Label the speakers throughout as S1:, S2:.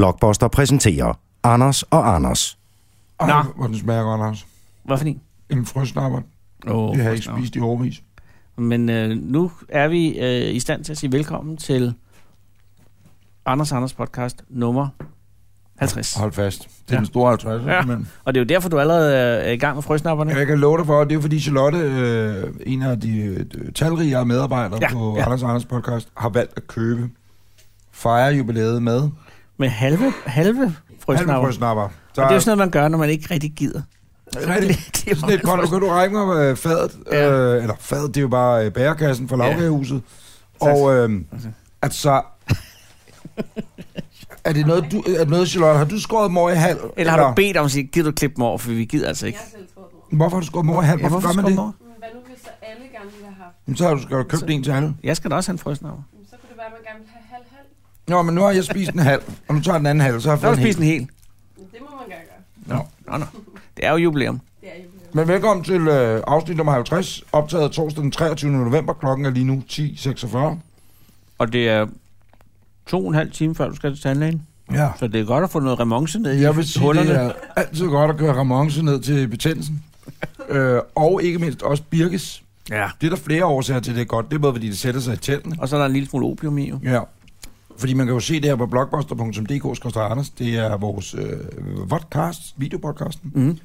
S1: Blockbuster præsenterer Anders og Anders.
S2: Ej,
S3: Nå.
S2: hvor den smager godt, Anders.
S3: Hvad for en?
S2: En frøsnapper.
S3: Oh,
S2: Det har jeg ikke spist i årvis.
S3: Men øh, nu er vi øh, i stand til at sige velkommen til Anders Anders podcast nummer 50.
S2: Hold fast. Det er
S3: Ja.
S2: ja. den store 50,
S3: Ja.
S2: ja. men
S3: Og det er jo derfor, du allerede er i gang med frøsnapperne.
S2: jeg kan love dig for, at det er fordi Charlotte, øh, en af de øh, talrige medarbejdere
S3: Ja,
S2: ja. på
S3: ja.
S2: ja. Anders og Anders podcast, har valgt at købe fejre jubilæet med
S3: Med halve, halve frøsnapper.
S2: halve
S3: Halve
S2: frøsnapper. Så
S3: Og det er jo sådan noget, man gør, når man ikke rigtig gider. Rigtigt.
S2: Sådan lidt koldt. Kan du række mig øh, fadet?
S3: Ja.
S2: Ja. Øh, eller fadet, det er jo bare øh, bærekassen fra
S3: Ja.
S2: lavkagehuset. Og øh, altså... Er det noget, du, er det noget, Charlotte? Har du skåret mor i halv?
S3: Eller har du bedt om at sige, gider du klippe dem over, for vi gider altså ikke.
S4: Jeg har selv tror på.
S2: Hvorfor har du skåret mor i halv?
S3: Ja,
S2: Hvorfor,
S3: hvorfor
S2: gør man
S3: skal
S2: det?
S3: man over?
S4: Men hvad nu hvis så alle gerne ville have haft?
S2: Jamen, så har du, skal du købt en til alle.
S3: Jeg skal da også have en frøsnapper.
S4: Jamen, Så kunne det være, at man gerne ville have halv-halv.
S2: Nå, men nu har jeg spist en halv, og nu tager jeg den anden halv, så har jeg
S3: Så har
S2: fået en
S3: du spist
S2: hel.
S3: en hel.
S4: Men Det må man gerne
S3: Nå,
S4: gøre.
S3: nå. Det er jo jubilæum.
S4: Det er jubilæum.
S2: Men velkommen til øh, afsnit nummer 50, optaget torsdag den 23. november. Klokken er lige nu 10.46.
S3: Og det er to og en halv time, før du skal til tandlægen.
S2: Ja.
S3: Så det er godt at få noget remonce ned i
S2: Jeg vil sige,
S3: hullerne.
S2: det er altid godt at køre Ramonce ned til betændelsen. øh, og ikke mindst også Birkes.
S3: Ja.
S2: Det er der flere årsager til, det er godt. Det er både, fordi det sætter sig i tændene.
S3: Og så er der en lille smule opium i jo.
S2: Ja. Fordi man kan jo se det her på blogbuster.dk Anders. Det er vores øh, vodcast, videopodcasten.
S3: Mm.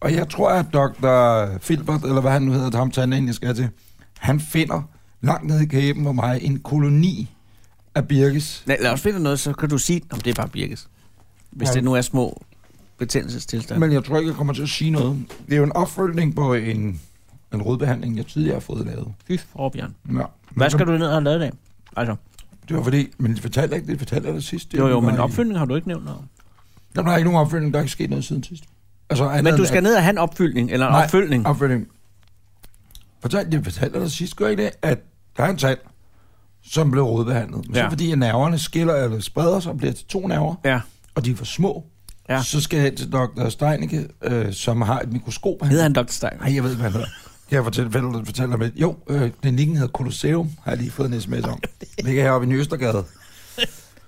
S2: Og jeg tror, at Dr. Filbert, eller hvad han nu hedder, ham tanden jeg skal til, han finder langt nede i kæben på mig en koloni af Birkes.
S3: Lad, lad os finde noget, så kan du sige, om det er bare birkes. Hvis
S2: Ja.
S3: det nu er små betændelsestilstande.
S2: Men jeg tror ikke, jeg kommer til at sige noget. Det er jo en opfølgning på en, en rødbehandling, jeg tidligere har fået lavet.
S3: Fy for, Bjørn.
S2: Ja.
S3: Hvad skal du ned og have lavet i dag? Altså,
S2: Det var fordi, men det fortalte jeg ikke, det fortalte jeg det sidst.
S3: jo jo, men
S2: opfølgning.
S3: opfyldning har du ikke nævnt noget om.
S2: Der er ikke nogen opfølgning, der er ikke sket noget siden sidst. Altså, andet
S3: Men du
S2: end-
S3: skal ned og have en opfyldning, eller en
S2: Nej,
S3: opfølgning.
S2: Opfølgning. Fortalte, jeg fortalte dig sidst, gør jeg ikke det, at der er en tand, som blev rodbehandlet. Men ja.
S3: Ja.
S2: så fordi at nerverne skiller, eller spreder sig og bliver til to nerver,
S3: Ja.
S2: og de er for små,
S3: Ja.
S2: ja. så skal jeg hen til dr. Steinicke, øh, som har et mikroskop.
S3: Hedder han Dr. Stein?
S2: Nej, jeg ved ikke, hvad han hedder. Jeg fortæller, fortæller, fortæller med. Jo, øh, klinikken hedder Colosseum, har jeg lige fået en sms om. Ligger heroppe i Ny Østergade.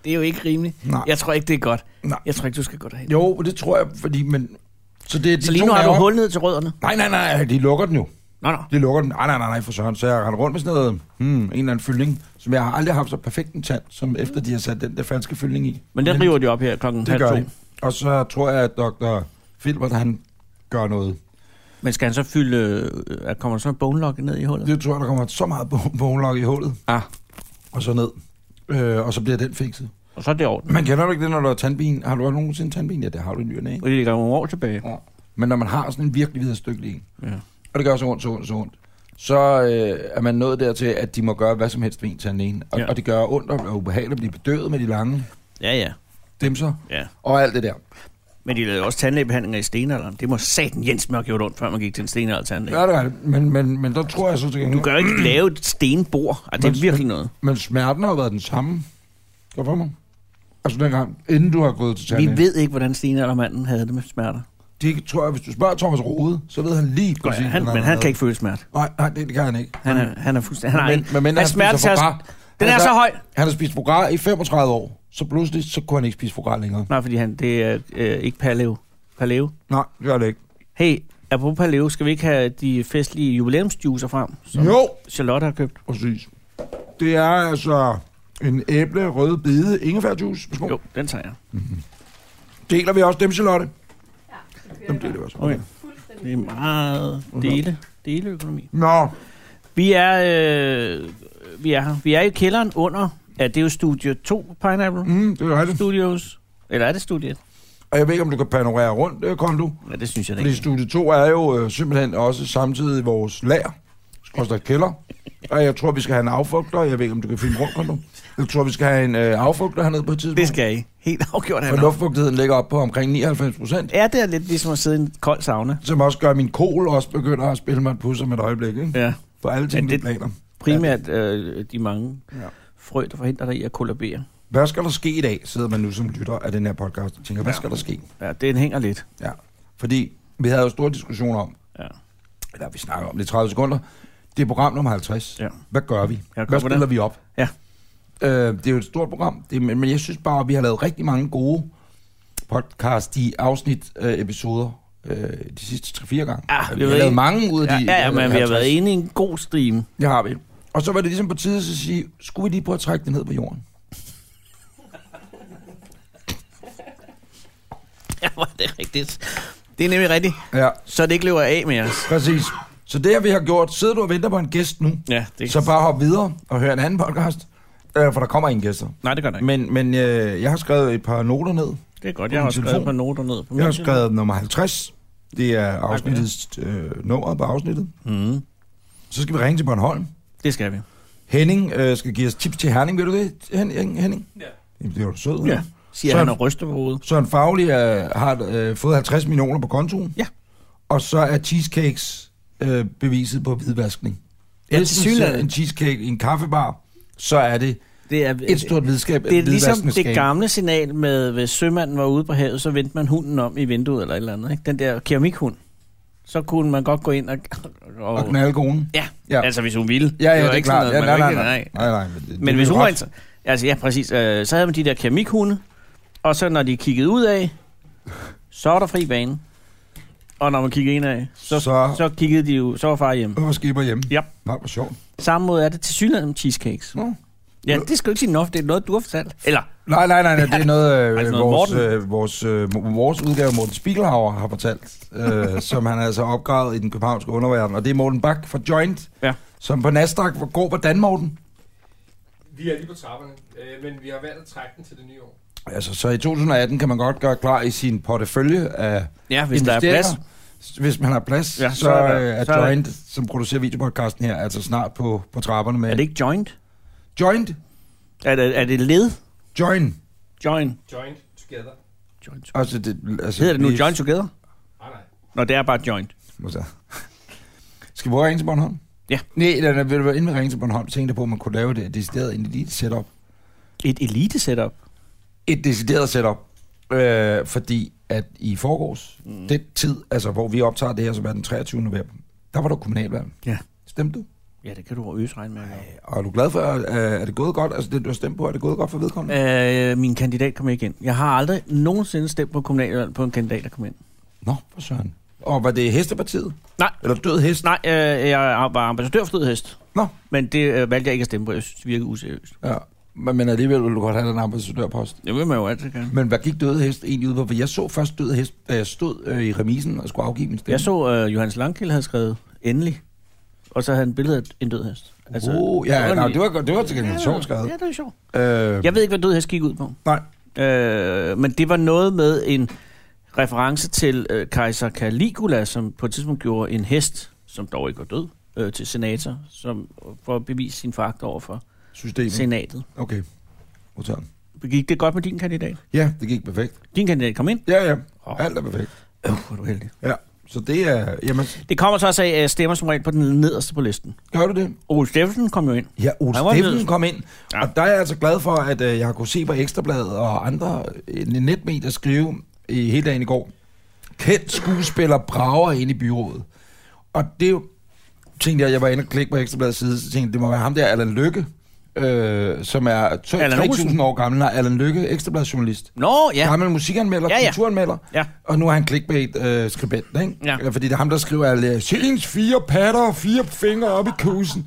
S3: Det er jo ikke rimeligt.
S2: Nej.
S3: Jeg tror ikke, det er godt.
S2: Nej.
S3: Jeg tror ikke, du skal gå derhen.
S2: Jo, det tror jeg, fordi... Men, så det er de
S3: Så lige
S2: to
S3: nu har du
S2: nerver-
S3: hul ned til rødderne.
S2: Nej, nej, nej, de lukker den jo.
S3: Nå, nå.
S2: De lukker den. Nej, nej, nej, nej, for søren. Så jeg render rundt med sådan noget, hmm, en eller anden fyldning, som jeg har aldrig haft så perfekt en tand, som efter de har sat den der falske fyldning i.
S3: Men den river de op her klokken
S2: det
S3: halv
S2: gør
S3: to.
S2: de. Og så tror jeg, at dr. Filbert, han gør noget.
S3: Men skal han så fylde... øh, Øh, kommer der så en bone lock ned i hullet?
S2: Det tror jeg, der kommer så meget bonelok i hullet,
S3: Ah,
S2: og så ned. Øh, og så bliver den fikset.
S3: og så er det i orden.
S2: Man kender jo ikke det, når du har tandben. Har du også nogensinde tandben? Ja, det har du i ny og næ, ikke?
S3: Og det ligger nogle år tilbage.
S2: Ja. Men når man har sådan en virkelig videre stykke lige,
S3: Ja.
S2: og det gør så ondt, så ondt, så ondt, så øh, er man nået dertil, at de må gøre hvad som helst ved en tandlægen. Og,
S3: Ja.
S2: ja. og det gør ondt og og ubehageligt at blive bedøvet med de lange
S3: Ja, ja.
S2: dimser
S3: ja.
S2: og alt det der.
S3: Men de lavede også tandlægebehandlinger i stenalderen. Det må satan Jens Mørk gjort ondt, før man gik til en stenaldertandlæge.
S2: Ja, det er det. Men, men, men der tror jeg så til
S3: Du
S2: gengæld,
S3: kan jo ikke lave et stenbord. Altså, det er
S2: Men-
S3: virkelig noget.
S2: men smerten har jo været den samme. Gør for mig. Altså dengang, inden du har gået til
S3: Vi
S2: tandlægen.
S3: ved ikke, hvordan stenaldermanden havde det med smerter.
S2: Det tror jeg, hvis du spørger Thomas Rode, så ved han lige præcis,
S3: Ja, han,
S2: hvordan
S3: men han
S2: har
S3: kan ikke føle smerte.
S2: været. Nej, nej, det, det kan han ikke.
S3: Han er, han er fuldstændig... Han har
S2: Men-
S3: ingen-
S2: men mindre
S3: Hans
S2: han spiser
S3: smertetærs-
S2: foie gras.
S3: Den er
S2: Altså-
S3: så høj.
S2: Han har spist foie gras i 35 år, så pludselig så kunne han ikke spise foie gras længere.
S3: Nej, fordi han, det er øh, ikke paleo. Paleo.
S2: Nej, det gør det ikke.
S3: Hey, apropos paleo, skal vi ikke have de festlige jubilæumsjuicer frem, som
S2: Jo,
S3: Charlotte har købt?
S2: Præcis. Det er altså en æble, rød bide, ingefærjuice. Værsgo.
S3: Jo, den tager jeg.
S2: Deler vi også dem, Charlotte?
S4: Ja, det kører
S2: Dem
S4: bare
S2: deler vi også.
S3: Okay.
S4: fuldstændig.
S3: Det er meget dele, deleøkonomi.
S2: Nå,
S3: Vi er, øh, vi er her. Vi er i kælderen under, ja, det er jo Studio 2 Pineapple
S2: mm, det er rigtigt.
S3: Studios. Eller er det studiet?
S2: Og jeg ved ikke, om du kan panorere rundt, øh, Kondo.
S3: Ja, det synes jeg da
S2: Fordi
S3: ikke.
S2: studie 2 er jo øh, simpelthen også samtidig vores lager. Skorstad kælder. Og jeg tror, vi skal have en affugter. Jeg ved ikke, om du kan filme rundt, Kondo. Jeg tror, vi skal have en øh, affugter hernede på et tidspunkt.
S3: Det skal jeg ikke. Helt afgjort, han
S2: For
S3: er.
S2: luftfugtigheden ligger op på omkring 99 procent.
S3: Ja, det er lidt ligesom at sidde i en kold sauna.
S2: Som også gør, at min kol også begynder at spille mig et pus om et øjeblik. Ikke?
S3: Ja,
S2: For alle ting, ja,
S3: Ja, det-
S2: det... planer.
S3: primært øh, de mange
S2: Ja.
S3: frø, der forhindrer dig i at kollabere.
S2: Hvad skal der ske i dag, sidder man nu som lytter af den her podcast og tænker, hvad skal der ske?
S3: Ja, den hænger lidt.
S2: Ja. Fordi vi havde jo store diskussioner om,
S3: Ja.
S2: eller vi snakker om det i 30 sekunder, det er program nummer 50.
S3: Ja.
S2: Hvad gør vi?
S3: Jeg er god
S2: hvad
S3: på
S2: stiller
S3: det.
S2: vi op?
S3: Ja.
S2: Øh, det er jo et stort program, det, men, men jeg synes bare, at vi har lavet rigtig mange gode podcast i afsnit, øh, episoder, øh, de sidste 3-4 gange. Altså,
S3: Ah,
S2: vi har
S3: jeg ved
S2: lavet
S3: ikke.
S2: mange ud af
S3: Ja,
S2: de...
S3: ja, ja men vi har
S2: 50.
S3: været inde i en god stream.
S2: Det har vi. Og så var det ligesom på tide at sige, skulle vi lige prøve at trække det ned på jorden?
S5: Ja, hvor er det rigtigt. Det er nemlig rigtigt.
S2: Ja,
S5: Så det ikke løber af med os.
S2: præcis. Så det har vi har gjort. Sidder du og venter på en gæst nu,
S3: Ja, det
S2: så bare hop videre og hør en anden podcast, øh, for der kommer ingen gæster.
S3: Nej, det gør det ikke.
S2: Men, men øh, jeg har skrevet et par noter ned.
S3: Det er godt,
S2: på
S3: jeg har
S2: min
S3: også skrevet
S2: telefon.
S3: på noter ned. På min
S2: Jeg har
S3: telefon.
S2: skrevet nummer 50. Det er afsnittets øh, nummer på afsnittet.
S3: Mm.
S2: Så skal vi ringe til Bornholm.
S3: Det skal vi.
S2: Henning øh, skal give os tips til Herning. Ved du det, Henning? Henning?
S6: Ja.
S2: Jamen, det er jo sød.
S3: Ja. Siger
S2: Så-
S3: han og ryster på hovedet.
S2: Søren Fagli øh, har øh, fået 50 millioner på kontoen.
S3: Ja.
S2: Og så er cheesecakes øh, beviset på hvidvaskning.
S5: Ja,
S2: Hvis
S5: til
S2: man ser
S5: synligheden.
S2: en cheesecake i en kaffebar, så er det
S3: Det er,
S2: et stort hvidskab.
S3: det er ligesom det gamle signal med, hvis sømanden var ude på havet, så vendte man hunden om i vinduet eller et eller andet. Ikke? Den der keramikhund. Så kunne man godt gå ind og... og,
S2: Og knaldkonen.
S3: ja.
S2: Ja.
S3: ja, altså hvis hun ville.
S2: Ja, ja,
S3: var
S2: det, er
S3: ikke
S2: klart.
S3: sådan
S2: ja,
S3: noget,
S2: nej,
S3: man
S2: nej,
S3: ikke-
S2: nej. nej, nej men det,
S3: Men
S2: det
S3: hvis
S2: er
S3: hun
S2: ret.
S3: var inter- Altså ja, præcis. Øh, så havde man de der keramikhunde, og så når de kiggede ud af, så var der fri bane. Og når man kiggede ind af, så,
S2: Så-
S3: så... så kiggede de jo, så var far hjemme.
S2: Så var skipper hjemme.
S3: Ja.
S2: Nej, hvor sjovt.
S3: Samme måde er det til synligheden med cheesecakes.
S2: Nå.
S3: Ja, det skal du ikke sige nok, det er noget, du har fortalt. Eller,
S2: Nej, nej, nej, nej, det er noget, øh,
S3: Altså noget
S2: vores,
S3: Morten.
S2: øh, vores, øh, vores udgave, af Morten Spiegelhauer har fortalt, øh, som han altså har opgravet i den københavnske underverden. Og det er Morten Bak fra Joint,
S3: Ja.
S2: som på Nasdaq går på Danmorten.
S6: Vi er lige på trapperne, øh, men vi har valgt at trække den til det nye år.
S2: Altså, så i 2018 kan man godt gøre klar i sin portefølje af
S3: ja, hvis der er plads.
S2: investeringer. Hvis man har plads, ja,
S3: Ja,
S2: så,
S3: så er der-
S2: øh, er
S3: så er der-
S2: Joint, som producerer videopodcasten her, altså snart på, på trapperne med...
S3: Er det ikke joint?
S2: Joint?
S3: Er det, er det led?
S2: Join.
S3: Joint.
S6: Joint together.
S3: joint.
S2: Altså, det, altså,
S3: Hedder det nu
S2: vi-
S3: joint together?
S6: Nej, Ah, nej.
S3: Nå, det er bare joint.
S2: Må så. Skal vi prøve at ringe til Bornholm?
S3: Ja.
S2: Nej, eller, eller, vil du inden vi ringe til Bornholm, tænkte jeg på, at man kunne lave det decideret en elite setup.
S3: Et elite setup.
S2: Et decideret setup. Øh, fordi at i forgårs, mm. den tid, altså hvor vi optager det her, som er den 23. november, der var der kommunalvalg.
S3: Ja.
S2: Stemte du?
S3: Ja, det kan du øse regne med. at
S2: Og er du glad for, at øh, er det gået godt? Altså det, du har stemt på, er det gået godt for vedkommende?
S3: gøre. Øh, min kandidat kom ikke ind. Jeg har aldrig nogensinde stemt på kommunalvalg på en kandidat, der kom ind.
S2: Nå, for søren. Og var det hestepartiet?
S3: Nej.
S2: Eller død hest?
S3: Nej, øh, jeg var ambassadør for Død Hest.
S2: Nå.
S3: Men det øh, valgte jeg ikke at stemme på. Jeg synes, det virkede useriøst.
S2: Ja. Men, men alligevel ville du godt have den ambassadørpost.
S3: Det vil man jo altid gerne.
S2: Men hvad gik døde hest egentlig ud på? For jeg så først døde hest, da jeg stod øh, i remisen og skulle afgive min stemme.
S3: Jeg så, øh, Johannes Langkild havde skrevet endelig. Og så havde han billedet af en død hest.
S2: Altså, oh, ja, det var, nej, det var, godt- det var til gengæld sjovt
S3: ja,
S2: skrevet.
S3: det er sjovt.
S2: Øh,
S3: Jeg ved ikke, hvad død hest gik ud på.
S2: Nej.
S3: Øh, men det var noget med en reference til øh, kejser Caligula, som på et tidspunkt gjorde en hest, som dog ikke var død, øh, til senator, som, for at bevise sin fakt over for
S2: Systemet.
S3: senatet.
S2: Okay. Modtaget.
S3: Gik det godt med din kandidat?
S2: Ja, det gik perfekt.
S3: Din kandidat kom ind?
S2: Ja, ja.
S3: Åh.
S2: Alt er perfekt.
S3: Øh, hvor er du heldig.
S2: Ja. Så det er... Jamen,
S3: Det kommer så også af, at jeg stemmer som regel på den nederste på listen.
S2: gør du det?
S3: Ole Steffensen kom jo ind.
S2: Ja, Ole
S3: Han var
S2: Steffen
S3: ned.
S2: kom ind.
S3: Ja.
S2: Og der er jeg altså glad for, at øh, jeg har kunnet se på Ekstrabladet og andre øh, netmedier skrive i hele dagen i går. Kendt skuespiller brager ind i byrådet. Og det er jo- tænkte jeg, jeg var inde og klikke på Ekstrabladets side, så tænkte jeg, det må være ham der, Allan Lykke, øh, som er tø-
S3: Allan Olsen.
S2: 3.000 år gammel, og Allan Lykke, Ekstrabladsjournalist.
S3: Nå,
S2: ja.
S3: ja.
S2: gammel musikanmelder, ja,
S3: Ja,
S2: ja.
S3: ja.
S2: kulturanmelder,
S3: Ja.
S2: og nu er han clickbait-skribent, ikke?
S3: Ja.
S2: Øh, Fordi det er ham, der skriver alle, Sjælens fire patter og fire fingre op i kusen.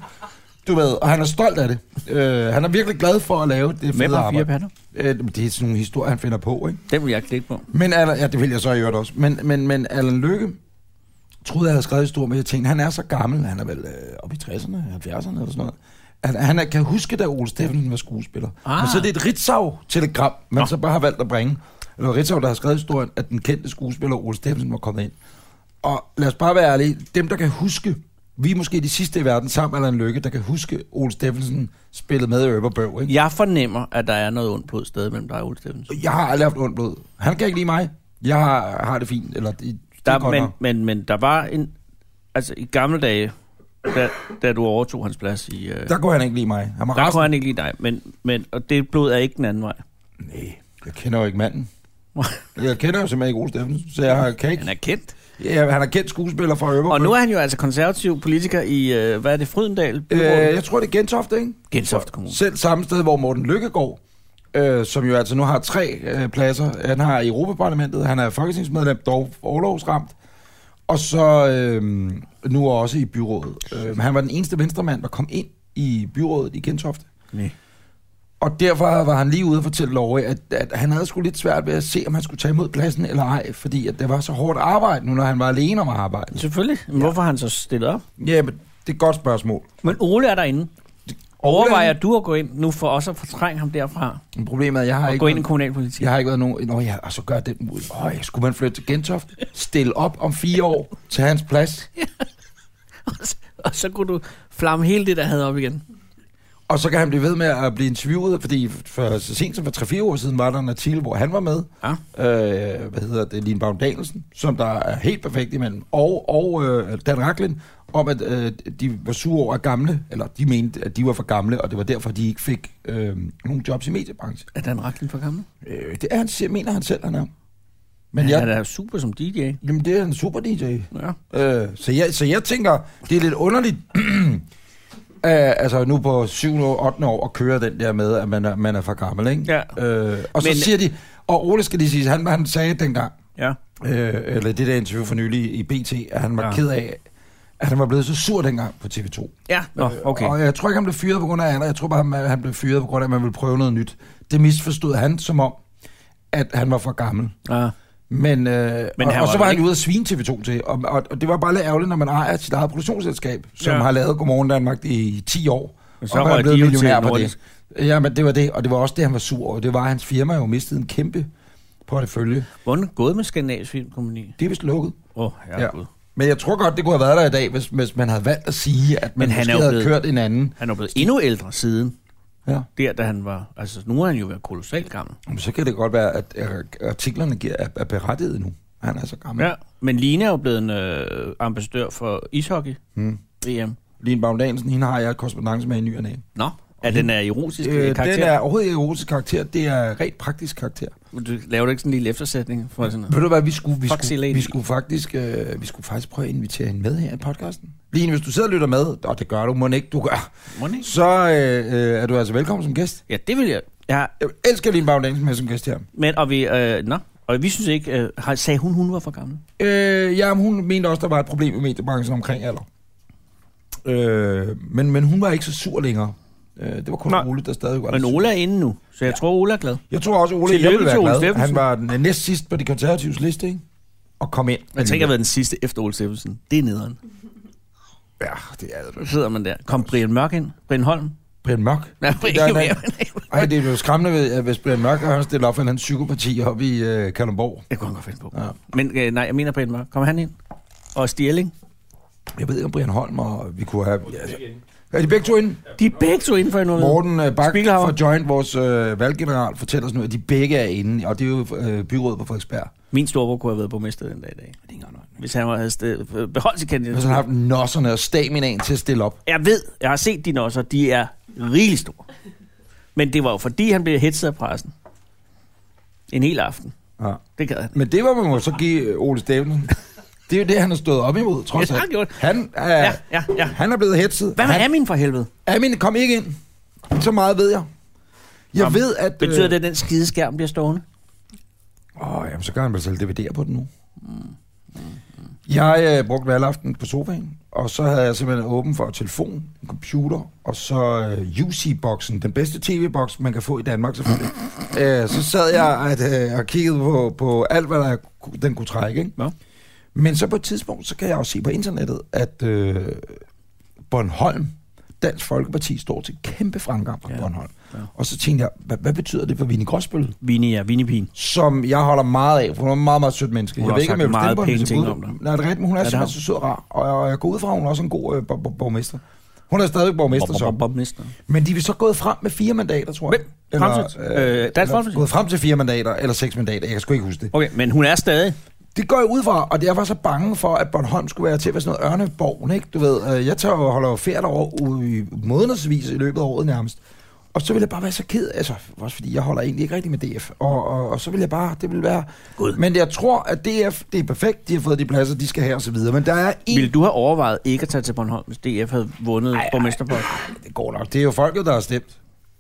S2: Du ved, og han er stolt af det. Øh, han er virkelig glad for at lave det
S3: Med
S2: fede
S3: bare fire
S2: arbejde.
S3: patter.
S2: Øh, men det er sådan nogle historier, han finder på, ikke?
S3: Den vil jeg klikke på.
S2: Men Alan, ja, det vil jeg så i øvrigt også. Men, men, men Allan Lykke troede, jeg havde skrevet stor, men jeg tænkte, han er så gammel, han er vel øh, oppe i 60'erne, 70'erne eller sådan noget. At han er- kan huske, da Ole Steffensen var skuespiller. Ah.
S3: Ah.
S2: Men så er det et Ritzau-telegram, man
S3: Nå.
S2: så bare har valgt at bringe. Det var Ritzau, der har skrevet historien, at den kendte skuespiller Ole Steffensen var kommet ind. Og lad os bare være ærlige, dem der kan huske, vi er måske de sidste i verden sammen med Allan Lykke, der kan huske Ole Steffensen spillede med i Øber Bøv, ikke?
S3: Jeg fornemmer, at der er noget ondt på et sted mellem dig og Ole Steffensen.
S2: Jeg har aldrig haft ondt blod. Han kan ikke lide mig. Jeg har, har det fint, eller det, det er
S3: Der,
S2: godt
S3: men,
S2: nok.
S3: men, men der var en... Altså, i gamle dage, da, da du overtog hans plads i... Øh,
S2: Der kunne han ikke lide mig. Han var
S3: der kunne
S2: rasende.
S3: han ikke lide dig, men, men, og det blod er ikke den anden vej.
S2: Nej, jeg kender jo ikke manden. Jeg kender jo simpelthen ikke Ole Steffensen, så jeg kan ikke...
S3: Han er kendt.
S2: Ja, han er kendt skuespiller fra Øver.
S3: Og nu er han jo altså konservativ politiker i, øh, hvad er det, Frydendal?
S2: Øh, jeg tror, det er Gentofte, ikke?
S3: Gentofte Kommune.
S2: Selv samme sted, hvor Morten Lykkegaard, øh, som jo altså nu har tre øh, pladser. Han har Europaparlamentet, han er folketingsmedlem, dog overlovsramt. Og så øh, nu også i byrådet. Øh, han var den eneste venstremand, der kom ind i byrådet i Gentofte.
S3: Nej.
S2: Og derfor var han lige ude og fortælle Love, at, at han havde sgu lidt svært ved at se, om han skulle tage imod pladsen eller ej, fordi at det var så hårdt arbejde nu, når han var alene om at arbejde.
S3: Selvfølgelig. Men Hvorfor har han så stillet op?
S2: Ja, men det er et godt spørgsmål.
S3: Men Ole er derinde. Overvejer du at gå ind nu for også at fortrænge ham derfra?
S2: Men Problemet er, at jeg har
S3: Og
S2: ikke...
S3: gå ind i kommunalpolitik?
S2: Jeg har ikke været nogen... Nå ja, og så gør den ud. Øj, skulle man flytte til Gentofte? Stille op om fire år til hans plads.
S3: Og så- og så kunne du flamme hele det, der havde op igen.
S2: Og så kan han blive ved med at blive interviewet, fordi for så sent som for 3-4 år siden var der en artikel, hvor han var med.
S3: Ja.
S2: Øh, hvad hedder det? Line Baum Danielsen, som der er helt perfekt imellem. Og, og øh, Dan Racklin, om at øh, de var sure over at gamle, eller de mente, at de var for gamle, og det var derfor, de ikke fik øh, nogen jobs i mediebranchen.
S3: Er Dan Racklin for gammel?
S2: Øh, det er han, selv- mener han selv, han er. Men
S3: Men
S2: jeg,
S3: jeg... Han er da super som DJ.
S2: jamen, det er en super DJ.
S3: Ja.
S2: Øh, så, jeg, så jeg tænker, det er lidt underligt, øh, altså nu på 7. og 8. år, at køre den der med, at man er, man er for gammel, ikke?
S3: Ja.
S2: Øh, og så Men...
S3: Men-
S2: siger de, og Ole skal lige sige, han, han sagde dengang,
S3: ja.
S2: øh, eller i det der interview for nylig i BT, at han var ja.
S3: Ja.
S2: ked af, at han var blevet så sur dengang på TV2.
S3: Ja, nå, okay.
S2: Og jeg tror ikke, han blev fyret på grund af alder. Jeg tror bare, han- han blev fyret på grund af, at man ville prøve noget nyt. Det misforstod han som om, at han var for gammel.
S3: Ja.
S2: Men, øh,
S3: Men
S2: Men og,
S3: han
S2: og
S3: var
S2: så
S3: vel
S2: var han
S3: ikke-
S2: ude at svine TV2 til, og, og, og det var bare lidt ærgerligt, når man ejer sit eget produktionsselskab, som ja.
S3: Ja.
S2: har lavet Godmorgen Danmark i 10 år,
S3: Men
S2: og
S3: så
S2: man er
S3: røg
S2: blevet
S3: de jo til
S2: millionær på det.
S3: Nordisk.
S2: Ja, men det var det, og det var også det, han var sur over. Det var, at hans firma jo mistede en kæmpe portefølje.
S3: Hvordan er det gået med Skandinavisk Filmkompagni?
S2: Det er vist lukket.
S3: Åh, oh,
S2: Ja.
S3: ja. Gud.
S2: Men jeg tror godt, det kunne have været der i dag, hvis, hvis man havde valgt at sige, at man
S3: Men han
S2: måske
S3: er jo
S2: havde
S3: blevet-
S2: kørt en anden.
S3: Han er blevet endnu ældre siden.
S2: Ja.
S3: Der, da han var... Altså, nu er han jo været kolossalt gammel.
S2: Jamen, Så kan det godt være, at øh, artiklerne giver- er, er berettiget nu. Han er så gammel.
S3: Ja. Men Line er jo blevet en øh, ambassadør for ishockey.
S2: Hmm.
S3: EM.
S2: Line Baum Danielsen, hende har jeg korrespondence med i ny og næ.
S3: Nå, er den er erotisk øh,
S2: Øh, den
S3: karakter?
S2: er overhovedet ikke erotisk karakter, det er rent praktisk karakter.
S3: Du laver du ikke sådan en lille eftersætning for sådan noget?
S2: Ved du hvad, vi skulle, vi
S3: Fuck
S2: skulle,
S3: sig, lady.
S2: vi skulle, faktisk, øh, vi skulle faktisk prøve at invitere hende med her i podcasten. Line, hvis du sidder og lytter med, og det gør du, må ikke du gør,
S3: Må den ikke?
S2: så øh, øh, er du altså velkommen som gæst.
S3: Ja, det vil jeg. Ja,
S2: Jeg elsker Line Baum Danielsen med som gæst her.
S3: men og vi... Øh, nå, og vi synes ikke... Øh, har- sagde hun, hun var for gammel?
S2: Øh, ja, men hun mente også, der var et problem i mediebranchen omkring alder. Øh, men, men hun var ikke så sur længere. Øh, det var kun
S3: Nej.
S2: Ole, der stadig var
S3: Men
S2: lidt sur.
S3: Ole er inde nu, så jeg ja. tror, Ole er glad.
S2: Jeg tror også, Ole
S3: Tillykke
S2: jeg ville
S3: til Ole
S2: være glad. Han
S3: Steffensen.
S2: var den øh, næst sidst på de konservatives liste, ikke? Og kom ind.
S3: Jeg tænker, at været den sidste efter Ole Steffensen. Det er nederen.
S2: Ja, det er
S3: Så sidder man der. Kom Brian Mørk ind. Brian Holm.
S2: Brian Mørk.
S3: Nej, ikke
S2: der-
S3: mere.
S2: Ej, det er jo skræmmende, ved, at hvis Brian Mørk har stillet op for en eller anden psykoparti op i øh, Kalundborg.
S3: Det kunne han godt finde på.
S2: Ja.
S3: Ja. Men øh, nej, jeg mener Brian Mørk. Kom han ind? Og Stierling.
S2: Jeg ved ikke, om Brian Holm og vi kunne have... Ja, altså,
S7: Igen.
S2: er de begge to inde?
S3: De er begge to inden for noget.
S2: Morten øh, Bak
S3: Spiegelhauer.
S2: fra Joint, vores øh, valggeneral, fortæller os nu, at de begge er inde, og det er jo øh, byrådet på Frederiksberg.
S3: Min storebror kunne have været borgmester den dag i dag. Hvis han var- havde sted, øh, beholdt sit
S2: Hvis han
S3: kandidat.
S2: har haft nosserne og staminaen til at stille op.
S3: Jeg ved, jeg har set dine også, de er rigeligt store. Men det var jo fordi, han blev hetset af pressen. En hel aften.
S2: Ja.
S3: Det gad han.
S2: Men det var man må så give øh, Ole Stævnen. Det er jo det, han har stået op imod, trods
S3: Ja,
S2: alt.
S3: han gjorde det.
S2: Han er,
S3: Ja, ja, ja.
S2: han er blevet hetset.
S3: Hvad med
S2: han,
S3: Amin for helvede?
S2: Amin, kom ikke ind. Så meget ved jeg. Jeg
S3: Nå,
S2: ved, at... øh,
S3: Betyder det, at den skide skærm bliver stående?
S2: Åh, oh, jamen, så kan han vel selv DVD'er på den nu. Jeg øh, brugte valgaften på sofaen, og så havde jeg simpelthen åben for telefon, en computer, og så øh, UC-boksen, den bedste tv-boks, man kan få i Danmark selvfølgelig. øh, så sad jeg at, øh, og kiggede på, på alt, hvad der, ku- den kunne trække. Ikke?
S3: Nå.
S2: Men så på et tidspunkt, så kan jeg også se på internettet, at øh, Bornholm, Dansk Folkeparti, står til kæmpe fremgang på ja.
S3: Ja.
S2: Bornholm. Ja.
S3: Ja.
S2: Og så tænkte jeg, hvad, hvad betyder det for Vinnie Gråsbøl?
S3: Vini, ja. Vinipin.
S2: som jeg holder meget af, for hun er en meget, meget sødt menneske.
S3: Hun
S2: jeg
S3: har sagt
S2: vil
S3: meget
S2: stemme på hende,
S3: pæne
S2: hvis jeg
S3: ting
S2: kunne.
S3: om dig.
S2: Nej, det er rigtigt, men hun er, ja,
S3: Ja, det
S2: simpelthen
S3: har
S2: så sød og rar, og jeg, og jeg går ud fra, at hun er også en god øh, bor- bor- borgmester. Hun er stadig borgmester, så.
S3: Borgmester.
S2: Men de er så gået frem med fire mandater, tror jeg.
S3: Hvem? Fremskridt? Øh, Dansk Folkeparti?
S2: Gået frem til fire mandater, eller seks mandater, jeg kan sgu ikke huske det.
S3: Okay, men hun er stadig.
S2: Det går jeg ud fra, og jeg var så bange for, at Bornholm skulle være til at være sådan noget Ørneborg, ikke? Du ved, øh, jeg tager og holder jo ferie derovre ude i månedsvis i løbet af året nærmest. Og så ville jeg bare være så ked, altså også fordi jeg holder egentlig ikke rigtig med DF. Og, og, og så ville jeg bare, det ville være... God. Men jeg tror, at DF, det er perfekt, de har fået de pladser, de skal have osv. Men der er en...
S3: Vil du have overvejet ikke at tage til Bornholm, hvis DF havde vundet borgmesterposten?
S2: Det går nok, det er jo folket, der har stemt.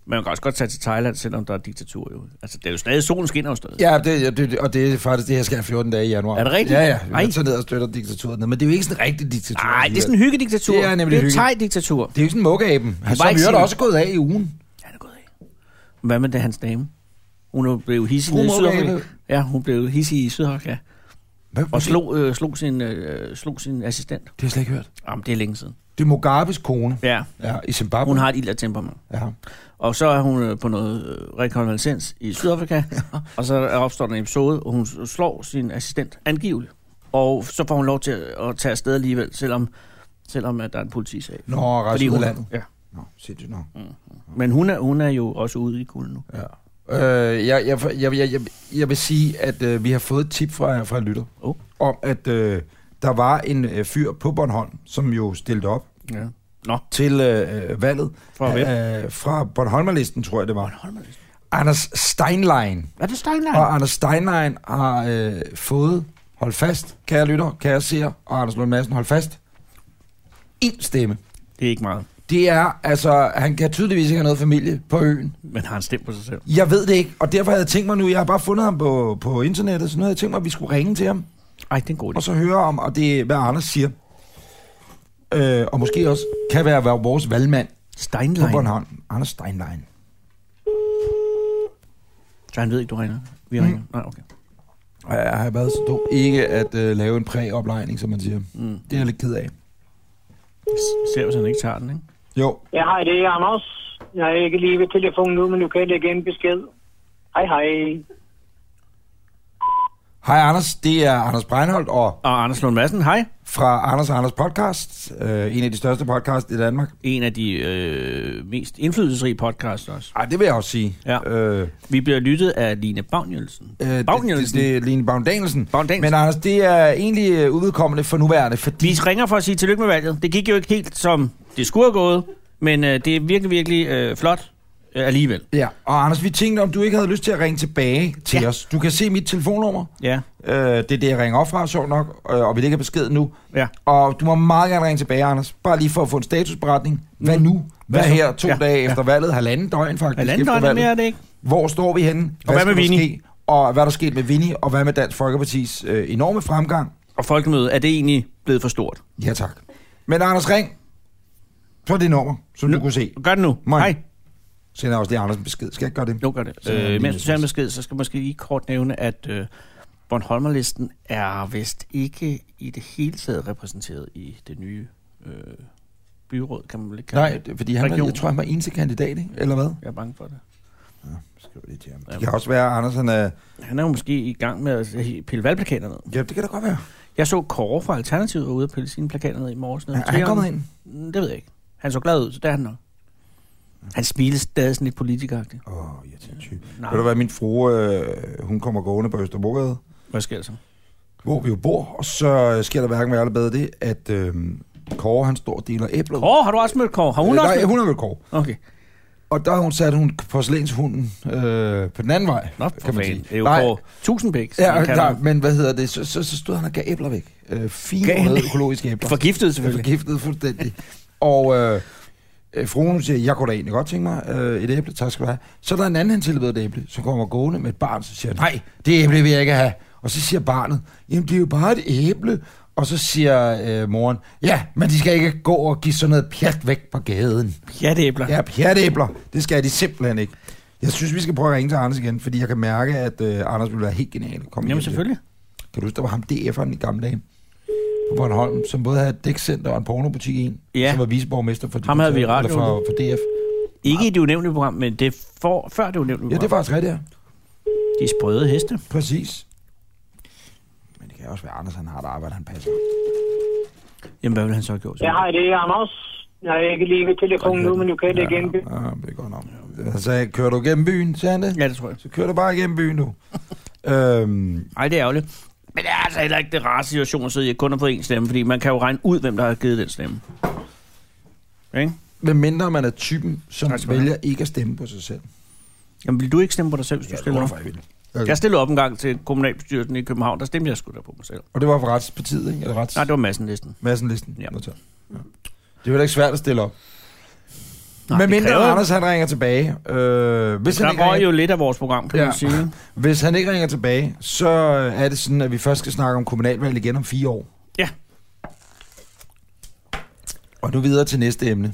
S3: Man kan også godt tage til Thailand, selvom der er diktatur jo. Altså, det er jo stadig, solen skinner jo stadig.
S2: Ja, det, ja, det, og det er faktisk det, jeg skal have 14 dage i januar.
S3: Er det rigtigt?
S2: Ja, ja. Jeg
S3: Ej.
S2: tager ned og støtter diktaturet ned, men det er jo ikke sådan en rigtig diktatur.
S3: Nej, det er
S2: alligevel.
S3: sådan en hyggediktatur.
S2: Det er nemlig
S3: det er
S2: hygge.
S3: thai-diktatur.
S2: Det er jo ikke sådan en mukkeaben,
S3: var
S2: som
S3: ikke
S2: jo
S3: sikker.
S2: også er gået af i ugen.
S3: Ja, det er gået af. Hvad med det, hans dame? Hun er blevet hissig
S2: Fru
S3: nede i
S2: Morgane.
S3: Sydafrika. Ja, hun blev hissig i Sydafrika.
S2: Hvad?
S3: Og slog, øh, slog, sin, øh, slog sin assistent.
S2: Det har jeg slet ikke hørt.
S3: Jamen, det er længe siden.
S2: Det er Mugabes kone.
S3: Ja,
S2: Ja, i Zimbabwe.
S3: hun har et ild af temperament.
S2: Ja.
S3: Og så er hun øh, på noget øh, rekonvalescens i Sydafrika, og så opstår der en episode, og hun slår sin assistent angiveligt. Og så får hun lov til at at tage afsted alligevel, selvom, selvom at der er en politisag.
S2: Nå, resten af
S3: hun,
S2: landet.
S3: ja.
S2: Nå, sindssygt nok.
S3: Men hun er, hun er jo også ude i kulden nu.
S2: Ja. Øh, jeg, jeg, jeg, jeg, jeg, jeg vil sige, at øh, vi har fået et tip fra, fra en lytter,
S3: Oh.
S2: om at øh, der var en øh, fyr på Bornholm, som jo stillede op
S3: Ja. Nå,
S2: til øh, øh, valget.
S3: Fra
S2: Øh, fra Bornholmerlisten, tror jeg det var. Anders Steinlein.
S3: er det Steinlein?
S2: Og Anders Steinlein har øh, fået, hold fast, kære lytter, kære seer, og Anders Lund Madsen, hold fast, en stemme.
S3: Det er ikke meget.
S2: Det er, altså, han kan tydeligvis ikke have noget familie på øen.
S3: Men har han stemt på sig selv?
S2: Jeg ved det ikke, og derfor havde jeg tænkt mig nu, jeg har bare fundet ham på, på internettet, så nu havde jeg tænkt mig, at vi skulle ringe til ham,
S3: Ej, det er en god idé.
S2: og så høre om, og det er, hvad Anders siger. Øh, og måske også kan være, være vores valgmand på
S3: Steinlein.
S2: Bornholm, Anders Steinlein.
S3: Så han ved ikke, du ringer. Vi ringer. Nej, okay.
S2: Og jeg har været så dum ikke at øh, lave en præoplejning, som man siger.
S3: Mm.
S2: Det er jeg lidt ked af.
S3: S- Ser hvis han ikke tager den, ikke?
S2: Jo,
S8: Ja, hej, det er Anders. Jeg er ikke lige ved telefonen nu, men du kan lægge en besked. Hej, hej.
S2: hej Anders, det er Anders Breinholt, og
S3: Og Anders Lund Madsen, hej.
S2: fra Anders og Anders podcast, øh, en af de største podcasts i Danmark.
S3: En af de øh, mest indflydelsesrige podcasts også.
S2: Ej, det vil jeg også sige.
S3: Ja.
S2: Øh,
S3: Vi bliver lyttet af Line Bagnjølsen.
S2: Øh, det, det,
S3: Bagnjølsen.
S2: det er Line Bavn Danielsen.
S3: Bavn Danielsen.
S2: Men Anders, det er egentlig øh, uvedkommende for nuværende, fordi...
S3: Vi ringer for at sige tillykke med valget. Det gik jo ikke helt, som det skulle have gået, men øh, det er virkelig, virkelig øh, flot øh, alligevel.
S2: Ja, og Anders, vi tænkte, om du ikke havde lyst til at ringe tilbage til ja.
S3: Ja.
S2: os. Du kan se mit telefonnummer.
S3: Ja.
S2: Øh, det er det, jeg ringer op fra, sjovt nok, øh, og vi lægger besked nu.
S3: Ja.
S2: Og du må meget gerne ringe tilbage, Anders. Bare lige for at få en statusberetning. Hvad nu? Hvad
S3: Mm. Hvad så?
S2: her to ja.
S3: Ja,
S2: dage efter valget? Halvanden døgn faktisk
S3: Halvanden
S2: efter
S3: døgn er
S2: valget.
S3: mere er det ikke.
S2: Hvor står vi henne? Hvad
S3: hvad
S2: skal
S3: med
S2: der
S3: Vinnie?
S2: ske? Og hvad er der sket med Vinnie? Og hvad med Dansk Folkepartis øh, enorme fremgang?
S3: Og folkemødet, er det egentlig blevet for stort?
S2: Ja, tak. Men Anders, ring på det nummer, som du kunne se.
S3: Gør det nu.
S2: Må jeg?
S3: Hej.
S2: sender også lige Anders en besked. Skal jeg ikke gøre det?
S3: Nu gør det.
S2: Så er det
S3: Øh,
S2: lige
S3: mens du tager en besked, så skal jeg måske lige kort nævne, at øh, Bornholmerlisten er vist ikke i det hele taget repræsenteret i det nye øh, byråd, kan man vel ikke kalde
S2: Nej, det er fordi han var,
S3: Region.
S2: jeg tror, han var eneste kandidat, ikke? eller hvad?
S3: Jeg er bange for det.
S2: Skriv det til ham. Det kan også være, Anders han er...
S3: Han er jo måske i gang med at pille valgplakater ned.
S2: Ja, det kan da godt være.
S3: Jeg så Kåre fra Alternativet var ude og pille sine plakater ned i morges. nede
S2: Er
S3: ved
S2: han
S3: Trianglen.
S2: kommet ind?
S3: Mm, Det ved jeg ikke. Han så glad ud, så det er han nok. Han smiler stadig sådan lidt politikeragtigt.
S2: Åh, oh, jeg er type.
S3: Nej.
S2: Ved du hvad, min frue, øh, hun kommer gående på Østerbrogade,
S3: Hvad sker der så?
S2: hvor vi jo bor, og så øh, sker der hverken værre eller bedre det, at øh, Kåre, han står og deler æbler.
S3: Kåre, har du også mødt Kåre? Har hun
S2: Øh,
S3: også
S2: Nej,
S3: mødt?
S2: hun er vel Kåre.
S3: Okay.
S2: Og der har hun sat hun porcelænshunden øh, på den anden vej,
S3: Nå, for fanden. Det er jo
S2: Nej,
S3: Kåre Tusindbæk, som
S2: Ja,
S3: han kalder
S2: nej,
S3: ham.
S2: men hvad hedder det? Så, så, så stod han og gav æbler væk. Øh, fine
S3: Gav han-
S2: røde økologiske æbler.
S3: Forgiftet
S2: Jeg er
S3: selvfølgelig.
S2: forgiftet fuldstændig. og øh, øh, fruen hun siger, jeg kunne da egentlig godt tænke mig øh, et æble, tak skal du have. Så er der en anden, han tilbyder et æble, som kommer gående med et barn, så siger han, nej, det æble vil jeg ikke have. Og så siger barnet, jamen det er jo bare et æble. Og så siger øh, moren, ja, men de skal ikke gå og give sådan noget pjat væk på gaden.
S3: Pjatæbler.
S2: Ja, pjatæbler, det skal de simpelthen ikke. Jeg synes, vi skal prøve at ringe til Anders igen, fordi jeg kan mærke, at øh, Anders ville være helt genial. at komme
S3: Jamen
S2: hjem til.
S3: selvfølgelig.
S2: Kan du huske, der var ham DF'eren i gamle dage på Bornholm, som både havde et dækcenter og en pornobutik i en,
S3: Ja.
S2: som var viceborgmester for,
S3: Ham havde vi i
S2: eller
S3: radioen.
S2: for, for DF.
S3: Ikke i det unævnlige program, men det er for, før det unævnlige
S2: Ja,
S3: program.
S2: det er faktisk rigtigt, ja.
S3: De sprøde heste.
S2: Præcis. Men det kan også være, at Anders han har et arbejde, han passer.
S3: Jamen, hvad ville han så have gjort?
S8: Ja, hej, det er Anders. Jeg er ikke lige ved telefonen nu, men du kan lægge en besked.
S2: Ja, det er godt nok. Han sagde, kører du gennem byen, sagde han det?
S3: Ja, det tror jeg.
S2: Så kører du bare gennem byen nu. øhm,
S3: Ej, det er ærgerligt. Men det er altså heller ikke det rare situation, at sidde i at kun har fået én stemme, fordi man kan jo regne ud, hvem der har givet den stemme. Ikke?
S2: medmindre man er typen, som
S3: Tak skal du have.
S2: vælger ikke at stemme på sig selv.
S3: Jamen, vil du ikke stemme på dig selv, hvis du stiller op?
S2: jeg
S3: Jeg stillede op en gang til kommunalbestyrelsen i København, der stemte jeg sgu da på mig selv.
S2: Og det var for Retspartiet, ikke? Eller Rets...
S3: Nej, det var massen næsten.
S2: Madsenlisten.
S3: Ja.
S2: Ja. Ja. Det er jo ikke svært at stille op. Nej,
S3: Nej,
S2: Men
S3: det
S2: mindre
S3: kræver-
S2: Anders, han ringer tilbage. Øh, hvis, han ikke
S3: Der røg
S2: ringer,
S3: jo lidt af vores program, kan
S2: Ja.
S3: man sige. ikke?
S2: hvis han ikke ringer tilbage, så øh, er det sådan, at vi først skal snakke om kommunalvalg igen om fire år.
S3: Ja.
S2: Og nu videre til næste emne.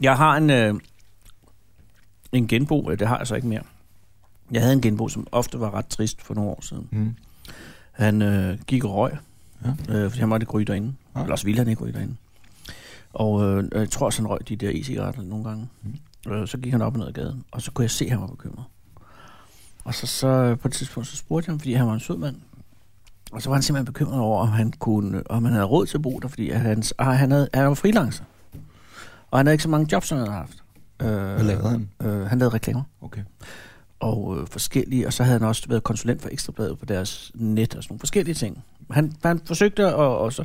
S3: Jeg har en, øh, en genbo, øh, det har jeg så ikke mere. Jeg havde en genbo, som ofte var ret trist for nogle år siden.
S2: Mm.
S3: Han øh, gik og røg, ja. øh, fordi han måtte ikke ryge derinde. Ja.
S2: Ja.
S3: Ellers ville han ikke ryge derinde. Og øh, jeg tror også, han røg de der e-cigaretter nogle gange. Mm. Øh, så gik han op og ned ad gaden, og så kunne jeg se, at han var bekymret. Og så, så øh, på et tidspunkt, så spurgte jeg ham, fordi han var en sød mand. Og så var han simpelthen bekymret over, om han, kunne, øh, om han havde råd til at bo der, fordi at hans, ah, han, havde, han var freelancer. Og han havde ikke så mange jobs, som han havde haft. Øh,
S2: Hvad lavede han?
S3: Øh, han lavede reklamer
S2: Okay.
S3: og øh, forskellige, og så havde han også været konsulent for Ekstrabladet på deres net og sådan nogle forskellige ting. Han, han forsøgte, at- og, og, så,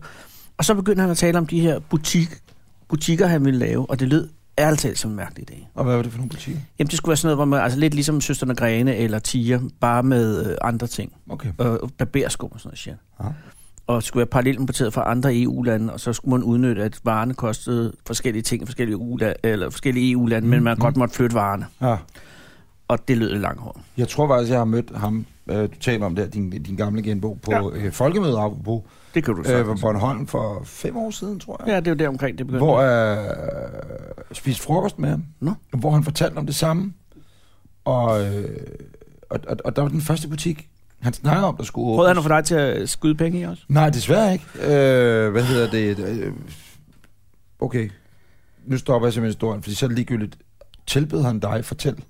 S3: og så begyndte han at tale om de her butik, butikker, han ville lave, og det lød ærligt talt som en mærkelig idé.
S2: Og hvad var det for nogle butikker?
S3: Jamen, det skulle være sådan noget, hvor man, altså lidt ligesom Søsterne Grene eller Tia, bare med øh, andre ting.
S2: Okay.
S3: Øh, barberskum og sådan noget shit.
S2: Ja.
S3: Og det skulle være parallelt importeret fra andre EU-lande, og så skulle man udnytte, at varerne kostede forskellige ting i forskellige, EU-lande, eller forskellige EU-lande, men man godt måtte flytte varerne.
S2: ja.
S3: Og det lød langhåret.
S2: Jeg tror faktisk, jeg har mødt ham, øh, du taler om der, din, din gamle genbo, på ja. øh, Folkemødet apropos,
S3: Det kan du
S2: øh,
S3: sagtens.
S2: på Bornholm for fem år siden, tror jeg.
S3: Ja, det er jo der omkring, det begyndte.
S2: hvor jeg øh, spiste frokost med ham,
S3: Nå.
S2: hvor han fortalte om det samme. Og, øh, og, og, og der var den første butik, han snakkede om, der skulle åbnes.
S3: Prøvede han at få dig til at skyde penge i også?
S2: Nej, desværre ikke. Øh, hvad hedder det? Øh, okay, nu stopper jeg simpelthen historien, fordi så er det ligegyldigt. Tilbød han dig, fortæl.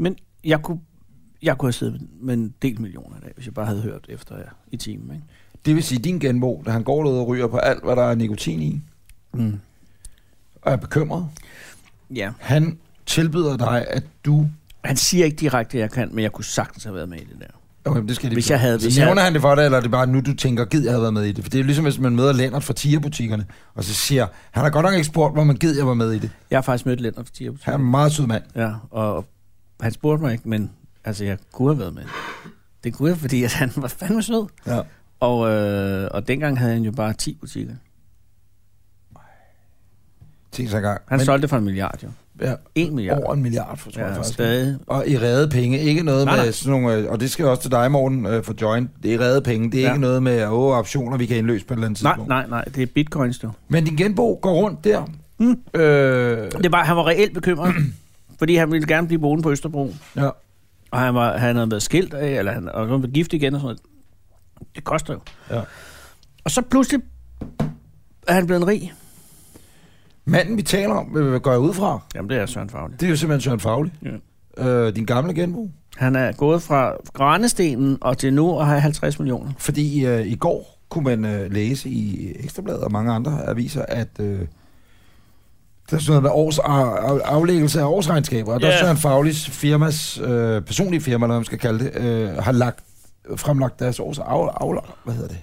S3: Men jeg kunne, jeg kunne have siddet med en del millioner i dag, hvis jeg bare havde hørt efter jer i timen, ikke?
S2: Det vil sige, din genbo, da han går ud og ryger på alt, hvad der er nikotin i,
S3: Mm.
S2: og er bekymret,
S3: Ja.
S2: han tilbyder dig, at du...
S3: Han siger ikke direkte, at jeg kan, men jeg kunne sagtens have været med i det der.
S2: Okay, men det skal det
S3: Hvis
S2: blive.
S3: jeg havde-
S2: Så
S3: hvis jeg
S2: nævner
S3: havde-
S2: han det for dig, eller er det bare nu, du tænker, gid jeg havde været med i det? For det er jo ligesom, hvis man møder Lennart fra Tia-butikkerne, og så siger, han har godt nok ikke spurgt, hvor man gid jeg var med i det.
S3: Jeg har faktisk mødt Lennart for 10
S2: Han er en meget sød mand.
S3: Ja, og han spurgte mig ikke, men altså, jeg kunne have været med. Det kunne jeg, fordi at han var fandme sød.
S2: Ja.
S3: Og, øh, og dengang havde han jo bare 10 butikker.
S2: Tænk sig engang.
S3: Han men, solgte det for en milliard, jo.
S2: ja,
S3: En milliard.
S2: over en milliard, for, tror jeg
S3: ja,
S2: faktisk.
S3: stadig.
S2: Og i redde penge. Ikke noget nej, med
S3: Nej, nej.
S2: nej. sådan nogle... øh, Og det skal også til dig, Morten, øh, for Join. Det er redde penge. Det er
S3: Ja.
S2: ja. ikke noget med åh, optioner, vi kan indløse på et eller andet
S3: Nej,
S2: tidspunkt.
S3: nej, nej, det er bitcoins, jo.
S2: Men din genbo går rundt der. Mm. Øh,
S3: Det var, han var reelt bekymret, fordi han ville gerne blive boende på Østerbro.
S2: ja.
S3: Og han, var, han havde været skilt af, eller han, og han var gift igen og sådan noget. Det koster jo.
S2: Ja.
S3: Og så pludselig er han blevet en rig.
S2: Manden, vi taler om, øh, går jeg ud fra.
S3: Jamen, det er Søren Faglig.
S2: Det er jo simpelthen Søren Fagli. Ja. Øh, din gamle genbo.
S3: Han er gået fra Grænestenen og til nu at have 50 millioner.
S2: Fordi øh, i går kunne man øh, læse i Ekstrabladet og mange andre aviser, at øh, der er sådan noget med års, af, af- aflæggelse af årsregnskaber, og der
S3: Ja.
S2: er Søren Faglis firmas, øh, personlige firma, eller hvad man skal kalde det, øh, har lagt, fremlagt deres års af, af, hvad hedder det?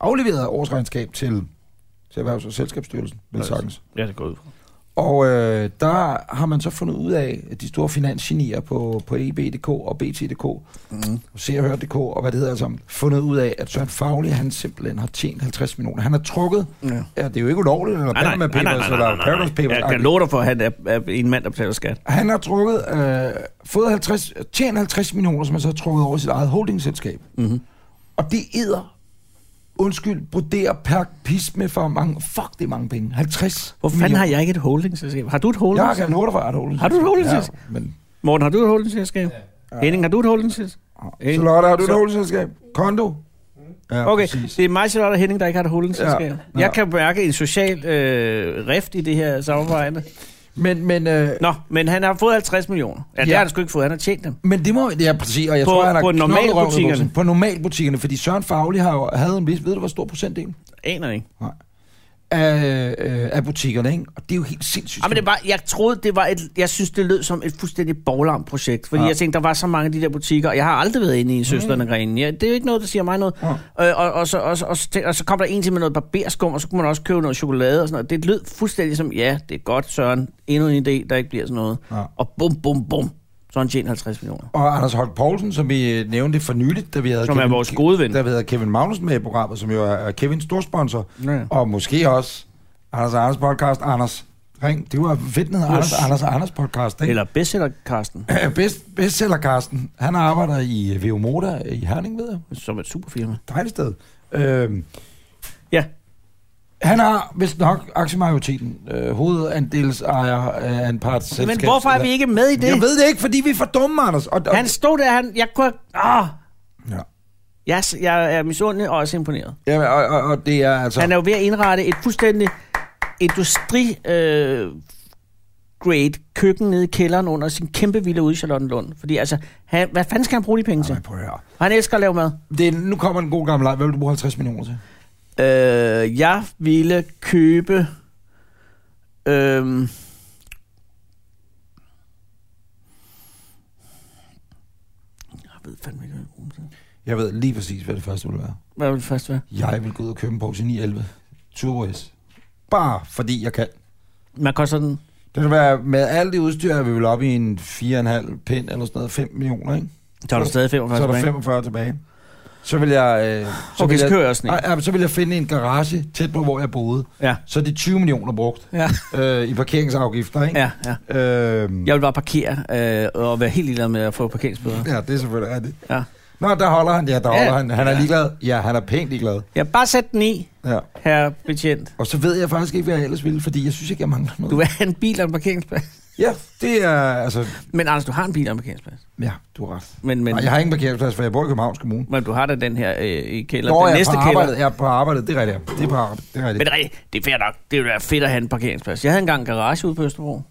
S2: afleveret årsregnskab til, til Erhvervs- og Selskabsstyrelsen, vil sagtens.
S3: Ja, det går ud fra.
S2: Og øh, der har man så fundet ud af, at de store finansgenier på, E på EB.dk og BT.dk,
S3: Mhm.
S2: mm. Se og Hør.dk og hvad det hedder sammen, fundet ud af, at Søren Fagli, han simpelthen har tjent 50 millioner. Han har trukket, ja. Ja, det er jo ikke ulovligt, eller
S3: Nej,
S2: Panama
S3: nej, nej, nej,
S2: Papers,
S3: nej, nej,
S2: eller
S3: nej,
S2: Paradise
S3: nej.
S2: Papers.
S3: Jeg kan love dig for, at han er, er en mand, der betaler skat.
S2: Han har trukket, øh, fået 50, tjent 50 millioner, som han så har trukket over i sit eget holdingselskab.
S3: Mhm.
S2: Mm-hmm. Og det æder, undskyld, broderer per pis med for mange, fuck, det er mange penge. 50
S3: Hvor fanden har jeg ikke et holdingselskab? Har du et
S2: Jeg kan
S3: holdingselskab?
S2: love dig for, at jeg har et holdingselskab.
S3: Har du et holdingselskab?
S2: Ja, men
S3: Morten, har du et holdingselskab? Ja. Henning, har du et holdingselskab? Ikke?
S2: Charlotte, har du
S3: Så- Mm.
S2: et holdingselskab? Kondo? Ja,
S3: Okay,
S2: præcis.
S3: det er mig, Charlotte og Henning, der ikke har et holdingselskab. Ja.
S2: Ja.
S3: Jeg kan mærke en social øh, rift i det her samarbejde.
S2: Men, men, øh,
S3: Nå, men han har fået 50 millioner. Ja, det
S2: Ja.
S3: har han sgu ikke fået. Han har tjent dem.
S2: men det må... Ja, præcis. Og jeg
S3: På-
S2: tror, han har
S3: på
S2: knoklet
S3: normalbutikkerne.
S2: røven i bukserne. På normalbutikkerne, fordi Søren Fagli har jo, havde en vis... Ved du, hvor stor procentdel?
S3: Aner ikke.
S2: Nej. af, øh, af butikkerne, ikke? Og det er jo helt sindssygt.
S3: Ja, Ah, men det var, jeg troede, det var et, jeg synes, det lød som et fuldstændig borglarmt projekt, fordi ja. jeg tænkte, der var så mange af de der butikker, og jeg har aldrig været inde i en søsterne grene. Ja, det er jo ikke noget, der siger mig noget. Ja. Øh, og, og, så, og, så- og, så, tænkte- og, så, kom der en til med noget barberskum, og så kunne man også købe noget chokolade og sådan noget. Det lød fuldstændig som, ja, det er godt, Søren, endnu en idé, der ikke bliver sådan noget.
S2: Ja.
S3: Ja. Og bum, bum, bum, så har han tjent 50 millioner.
S2: Og Anders Holk Poulsen, som vi øh, nævnte for nyligt, da vi havde,
S3: Som er vores gode ven.
S2: Da vi havde Kevin Magnus med i programmet, som jo er- er Kevins storsponsor.
S3: Ja.
S2: Og måske også Anders og Anders podcast, Anders Ring. Det var fedt ned, Anders, Anders og Anders podcast, ikke?
S3: Eller bestseller, Karsten,
S2: Eller... Best, bestseller Carsten, han arbejder i øh, VU Moda i Herning, ved jeg.
S3: som er et superfirma.
S2: Dejligt sted. Øhm,
S3: Ja,
S2: han har vist nok aktiemajoriteten, øh, hovedandelsejer af en part selskab.
S3: men hvorfor er vi ikke med i det?
S2: Jeg ved det ikke, fordi vi er for dumme, Anders. Og, og,
S3: Han stod der, han, jeg kunne... Ah,
S2: ja.
S3: jeg, jeg er misundelig og også imponeret.
S2: Ja, og, og, og det er altså...
S3: Han er jo ved at indrette et fuldstændig industri øh, grade køkken nede i kælderen under sin kæmpe villa ude i Charlottenlund. Fordi altså, han, hvad fanden skal han bruge de penge til?
S2: Ej, prøv at høre.
S3: Han elsker at lave mad.
S2: Det er, nu kommer en god gammel leg. Hvad vil du bruge 50 millioner til?
S3: Øh, jeg ville købe... Øh, jeg ved fandme ikke, hvad jeg vil bruge dem til.
S2: Jeg ved lige præcis, hvad det første vil være.
S3: hvad vil det først være?
S2: Jeg vil gå ud og købe en Porsche 911 Turbo S. Bare fordi jeg kan.
S3: Hvad koster den?
S2: Det vil være med alt det udstyr, er vi vil op i en 4,5 pind eller sådan noget. 5 millioner, ikke?
S3: Så er der stadig 45
S2: Så er der
S3: tilbage.
S2: 45 tilbage. Så vil jeg... Øh, så
S3: Okay,
S2: vil
S3: så kører jeg også en.
S2: Nej, ja, men så vil jeg finde en garage tæt på, hvor jeg boede.
S3: Ja.
S2: Så er det 20 millioner brugt
S3: Ja.
S2: øh, i parkeringsafgifter, ikke?
S3: Ja, ja.
S2: Øhm,
S3: Jeg vil bare parkere øh, og være helt ligeglad med at få parkeringsbøder.
S2: ja, det er selvfølgelig rigtigt.
S3: Ja.
S2: Nå, der holder han. Ja, der holder
S3: Ja.
S2: han. Han er
S3: Ja.
S2: ligeglad. Ja, han er pænt ligeglad.
S3: Ja, bare sæt den i,
S2: Ja.
S3: herre betjent.
S2: Og så ved jeg faktisk ikke, hvad jeg ellers ville, fordi jeg synes ikke, jeg mangler noget.
S3: Du vil have en bil og en parkeringsplads.
S2: Ja, det er altså...
S3: Men Anders, du har en bil og en parkeringsplads.
S2: Ja, du har ret.
S3: Men, men,
S2: Nej, jeg har ingen parkeringsplads, for jeg bor i Københavns Kommune.
S3: men du har da den her øh, i kælderen.
S2: Nå,
S3: den
S2: jeg er
S3: næste
S2: på
S3: kælder.
S2: arbejdet. Jeg er på arbejdet, det er rigtigt. Det er på arbejdet, det er
S3: Men
S2: rigtigt.
S3: det er rigtigt, det er fair nok. Det ville være fedt at have en parkeringsplads. Jeg havde engang en garage ude på Østerbro.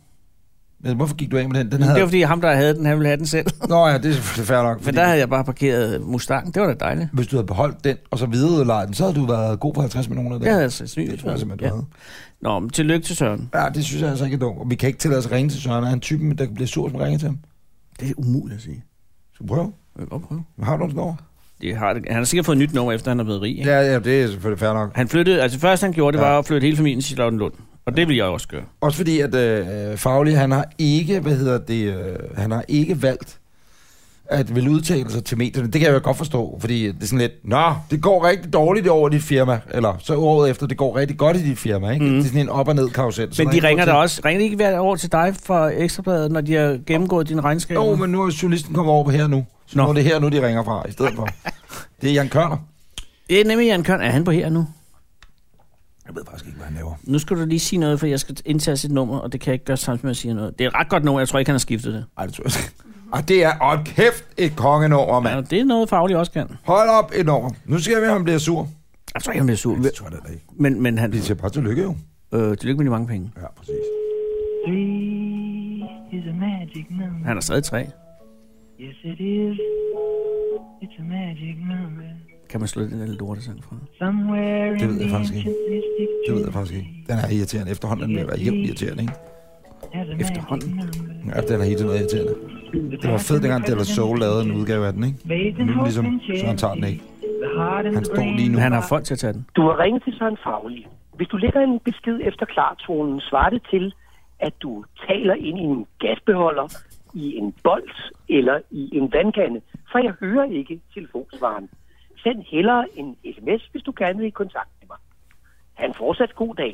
S2: Men hvorfor gik du af med den? Den
S3: Det
S2: havde...
S3: var fordi ham, der havde den, han ville have den selv.
S2: Nå ja, det er selvfølgelig fair nok.
S3: Men
S2: Fordi
S3: der havde jeg bare parkeret Mustang. Det var da dejligt.
S2: Hvis du havde beholdt den, og så videreudlejet den, så havde du været god for 50 millioner. i dag.
S3: Det havde jeg altså
S2: det
S3: sandsynligvis
S2: tror jeg
S3: været.
S2: simpelthen, du
S3: ja. Nå, men tillykke til Søren.
S2: havde. Ja, det synes jeg altså ikke er dumt. Og vi kan ikke tillade os at ringe til Søren. Er han typen, der bliver sur, som ringer til ham?
S3: Det er umuligt at sige.
S2: Skal vi prøve?
S3: Jeg vil godt prøve.
S2: Har du noget
S3: Det har, han har sikkert fået et nyt nummer, efter han er blevet rig. Ikke?
S2: Ja, ja, det er selvfølgelig fair nok.
S3: Han flyttede, altså først han gjorde, det
S2: Ja.
S3: ja. var at flytte hele familien til Charlottenlund. Og det ville jeg også gøre.
S2: Også fordi, at øh, Fagli, han har ikke, hvad hedder det, øh, han har ikke valgt at vil udtale sig til medierne. Det kan jeg jo godt forstå, fordi det er sådan lidt, nå, det går rigtig dårligt over i dit firma, eller så året efter, det går rigtig godt i dit firma, ikke? Mm. Det er sådan en op- og ned-karusel. Så
S3: Men
S2: der er
S3: de
S2: ikke
S3: ringer
S2: grund
S3: da
S2: til-
S3: også. Ringer de ikke hvert år til dig fra Ekstrabladet, når de har gennemgået din regnskab?
S2: Jo, men nu er journalisten kommet over på her nu. Så
S3: Nå.
S2: nu er det her nu, de ringer fra, i stedet for. Det er Jan Kørner.
S3: Det er nemlig Jan Kørn. Er han på her nu?
S2: Jeg ved faktisk ikke, hvad han laver.
S3: Nu skal du lige sige noget, for jeg skal indtage sit nummer, og det kan jeg ikke gøre samtidig med at sige noget. Det er et ret godt nummer, jeg tror ikke, han har skiftet det.
S2: Ej, det tror jeg ikke. Og Ah, det er, og kæft, et kongenummer,
S3: Ja,
S2: mand.
S3: det er noget, Faglig også kan.
S2: Hold op, et nummer. Nu skal jeg ved, om han bliver sur.
S3: Jeg tror ikke, han bliver sur.
S2: tror jeg da ikke.
S3: Men, men han...
S2: Vi siger bare tillykke, jo.
S3: Øh, tillykke med de mange penge.
S2: Ja, præcis.
S9: Three is a magic number.
S3: Han er stadig tre.
S9: Mm. Yes, it is. It's a magic number.
S3: Kan man slå den der lorte sang fra?
S9: Somewhere
S2: Det
S9: in
S2: ved jeg
S9: the
S2: faktisk ikke.
S9: ancient mystic
S2: Det ved jeg faktisk ikke. Den er irriterende. Efterhånden er den ved at være helt irriterende, ikke?
S9: has a magic
S3: Efterhånden.
S9: number.
S2: Ja, den er helt tiden irriterende. Det var fedt, dengang Della Soul lavede en udgave af den, ikke? Nu er den ligesom, så han tager den ikke. Han står lige nu.
S3: Han har folk til at tage den.
S10: Du har ringet til Søren Faglig. Hvis du lægger en besked efter klartonen, svarer det til, at du taler ind i en gasbeholder, i en bold eller i en vandkande, for jeg hører ikke telefonsvaren. Send hellere en sms, hvis du gerne vil i kontakt med mig. Han fortsat god dag.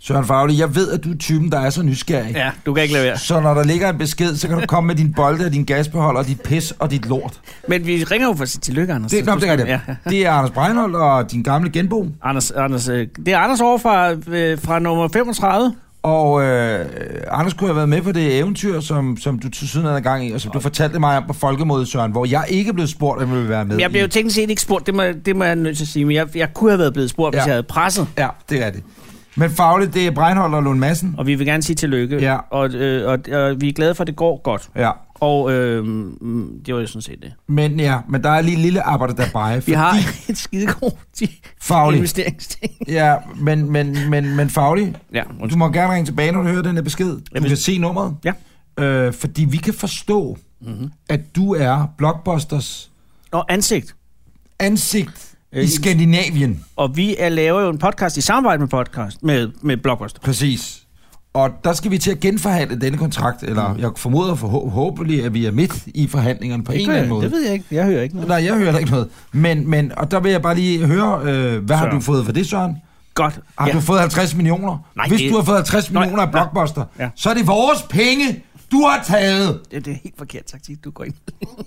S2: Søren Fagli, jeg ved, at du er typen, der er så nysgerrig.
S3: Ja, du kan ikke lade være.
S2: Så når der ligger en besked, så kan du komme med din bolde og din gasbeholder, og dit pis og dit lort.
S3: Men vi ringer jo for at sige tillykke, Anders.
S2: Det, nå, det er
S3: Ja, ja.
S2: rigtigt. Det er Anders Breinholt og din gamle genbo.
S3: Anders, Anders, øh, det er Anders over fra, øh, fra nummer 35.
S2: Og øh, Anders kunne have været med på det eventyr, som, som du til siden havde gang i, og som du fortalte mig om på Folkemødet, Søren, hvor jeg ikke blev spurgt, om jeg ville være med.
S3: Men Jeg blev jo
S2: i.
S3: teknisk set ikke spurgt, det må, det må jeg nødt til at sige, men jeg, jeg kunne have været blevet spurgt, hvis
S2: Ja.
S3: jeg havde presset.
S2: Ja, det er det. Men fagligt, det er Breinholt og Lund Madsen.
S3: Og vi vil gerne sige tillykke,
S2: Ja.
S3: og, øh, og, og vi er glade for, at det går godt.
S2: Ja,
S3: Og øh, mm, det var jo sådan set det.
S2: Men ja, men der er lige en lille arbejde der bare.
S3: Vi har en skidegod
S2: Faglig.
S3: investeringsting.
S2: Ja, men, men, men, men faglig.
S3: Ja,
S2: Du
S3: undskyld.
S2: må gerne ringe tilbage, når du hører den her besked. Du
S3: Jamen-
S2: kan se nummeret.
S3: Ja. Mhm.
S2: Øh, fordi vi kan forstå, mm-hmm. at du er Blockbusters
S3: Og ansigt.
S2: ansigt
S3: Øh,
S2: i Skandinavien.
S3: Og vi er, laver jo en podcast i samarbejde med podcast, med, med Blockbuster.
S2: Præcis. Og der skal vi til at genforhandle denne kontrakt, eller
S3: Mm.
S2: jeg formoder forhå- håbentlig, at vi er midt i forhandlingerne på en eller anden måde.
S3: det ved jeg ikke. Jeg hører ikke noget.
S2: Nej, jeg hører da ikke noget. Men, men og der vil jeg bare lige høre, øh, hvad har
S3: Søren.
S2: du fået for det, Søren?
S3: Godt.
S2: Har ja. du fået 50 millioner?
S3: Nej,
S2: Hvis
S3: det-
S2: du har fået 50
S3: Nej,
S2: millioner af
S3: nej.
S2: Blockbuster,
S3: Ja.
S2: så er det vores penge, du har taget.
S3: det, det er helt forkert taktik, du går ind.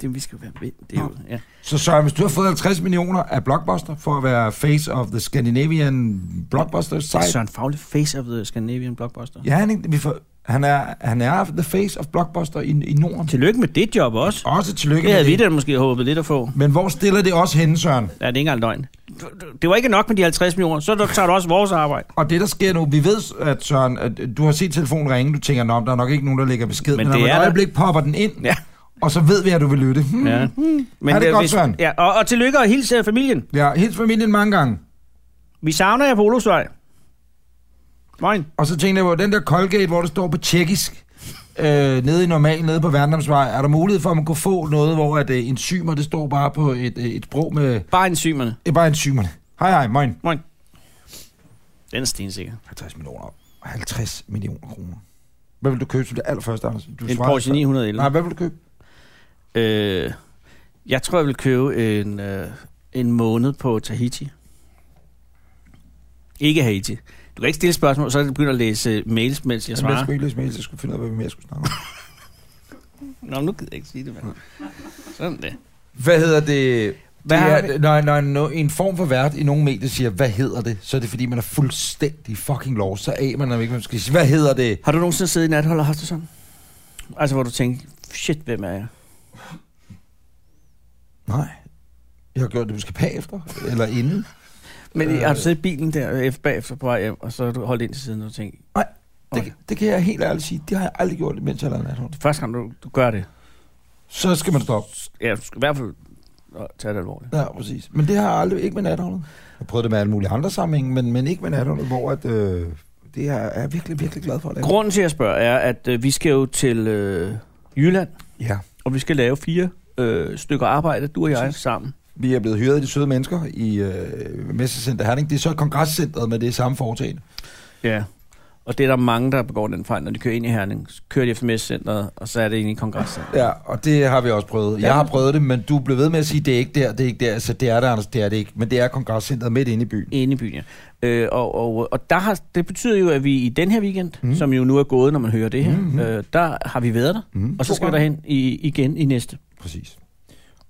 S3: det vi skal jo være med. Det er jo, ja.
S2: Så Søren, hvis du har fået 50 millioner af Blockbuster for at være face of the Scandinavian Blockbuster
S3: Det er
S2: site.
S3: Søren Faglig, face of the Scandinavian Blockbuster. Ja.
S2: Ja, han, er ikke- vi får, han, er, han er the face of Blockbuster i, i Norden.
S3: Tillykke med det job også.
S2: Også tillykke
S3: Det havde vi
S2: med det.
S3: da måske håbet lidt at få.
S2: Men hvor stiller det også henne, Søren?
S3: Ja, det er ikke engang løgn. Du- du- Det var ikke nok med de 50 millioner, så der- tager du også vores arbejde.
S2: Og det, der sker nu, vi ved, at Søren, at du har set telefonen ringe, du tænker, at der er nok ikke nogen, der lægger besked, men,
S3: Men
S2: men
S3: det
S2: om et
S3: er der.
S2: øjeblik popper den ind,
S3: Ja.
S2: og så ved vi, at du vil lytte. Hmm.
S3: Ja. Men
S2: Ha' det
S3: øh,
S2: godt, Søren.
S3: Ja, og, og tillykke og hils øh, familien.
S2: Ja, hils familien mange gange.
S3: Vi savner jer på Olofsvej. Moin.
S2: Og så tænkte jeg på, den der Colgate, hvor det står på tjekkisk, øh, nede i normal, nede på Værndomsvej, er der mulighed for, at man kunne få noget, hvor at, øh, enzymer, det står bare på et, øh, et sprog med...
S3: Bare enzymerne.
S2: Det er bare enzymerne. Hej, hej, moin.
S3: Moin. Den er stensikker.
S2: 50 millioner. 50 millioner kroner. Hvad vil du købe som det allerførste, Anders? Du
S3: En
S2: svarede
S3: Porsche
S2: før.
S3: 911.
S2: Nej, hvad vil du købe?
S3: Øh, jeg tror, jeg vil købe en, øh, en måned på Tahiti. Ikke Haiti. Du kan ikke stille spørgsmål, så begynder at læse øh, mails, mens jeg
S2: Jamen, Jeg
S3: svarer.
S2: skulle ikke læse mail, så jeg skulle finde ud af, hvad mere jeg skulle snakke om.
S3: Nå, nu gider jeg ikke sige det, mand. Sådan det.
S2: Hvad hedder det?
S3: Hvad
S2: det
S3: har
S2: er,
S3: vi-
S2: når, når, når en form for vært i nogle medier siger, hvad hedder det, så er det fordi, man er fuldstændig fucking lost. Så af man er ikke, man skal sige, hvad hedder det?
S3: Har du nogensinde siddet i nathold og haft det sådan? Altså, hvor du tænkte, shit, hvem er jeg?
S2: Nej, jeg har gjort det måske bagefter, eller inden.
S3: Men øh, har du siddet i bilen der øh, bagefter på vej hjem, og så har du holdt ind til siden og tænkt,
S2: Nej,
S3: Okay.
S2: det, det kan jeg helt ærligt sige, det har jeg aldrig gjort, mens jeg har lavet nathånd.
S3: det er første gang, du, du gør det.
S2: Så skal man stoppe.
S3: Ja, du skal i hvert fald øh, tage det alvorligt.
S2: Ja, præcis. Men det har jeg aldrig, ikke med natholdet. Jeg prøvede det med alle mulige andre sammenhænge, men, men ikke med natholdet, hvor at, øh, det er, er jeg virkelig, virkelig glad for. At lave.
S3: Grunden til, at jeg spørger, er, at øh, vi skal jo til øh, Jylland,
S2: Ja.
S3: og vi skal lave fire øh, stykker arbejde, du og jeg, sammen.
S2: Vi er blevet hyret af de søde mennesker i øh, Messecenter Herning. Det er så kongresscentret, men det er samme foretagende.
S3: Ja. Og det er der mange, der begår den fejl, når de kører ind i Herning. Så kører de FMS-centret, og så er det ind i kongrescentret.
S2: Ja, og det har vi også prøvet. Jeg har prøvet det, men du blev ved med at sige, det er ikke der, det er ikke der. Så det er der, Anders, det er det ikke. Men det er kongresscentret midt inde i byen.
S3: Inde i byen, ja. Øh, og, og, og der har, det betyder jo, at vi i den her weekend, mm. som jo nu er gået, når man hører det her, mm-hmm. øh, der har vi været der. Mm. Og så skal vi derhen i, igen i næste.
S2: Præcis.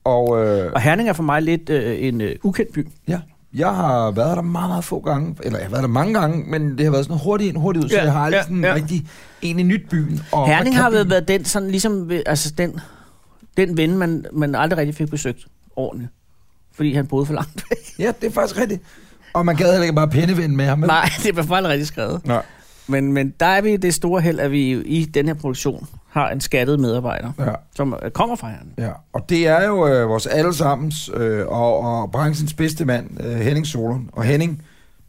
S2: Og øh,
S3: Og Herning er for mig lidt øh, en øh, ukendt by.
S2: ja, jeg har været der meget, meget få gange. Eller jeg har været der mange gange, men det har været sådan hurtigt ind, hurtigt ud. Så
S3: Ja,
S2: jeg har aldrig
S3: ja,
S2: sådan
S3: ja.
S2: rigtig en i nyt byen. Og
S3: Herning
S2: hvad
S3: har
S2: kan
S3: vel
S2: byen?
S3: været den, sådan ligesom, ved- altså den, den ven, man, man aldrig rigtig fik besøgt ordentligt. Fordi han boede for langt væk.
S2: Ja, det er faktisk rigtigt. Og man gad heller ikke bare pindevind med ham. vel?
S3: Nej, det var faktisk rigtig skrevet.
S2: Nej.
S3: Men, men der er vi i det store held, at vi i den her produktion har en skattet medarbejder,
S2: Ja.
S3: som øh, kommer fra Herning.
S2: Ja, og det er jo øh, vores allesammens øh, og, og branchens bedste mand, øh, Henning Solon. Og Henning,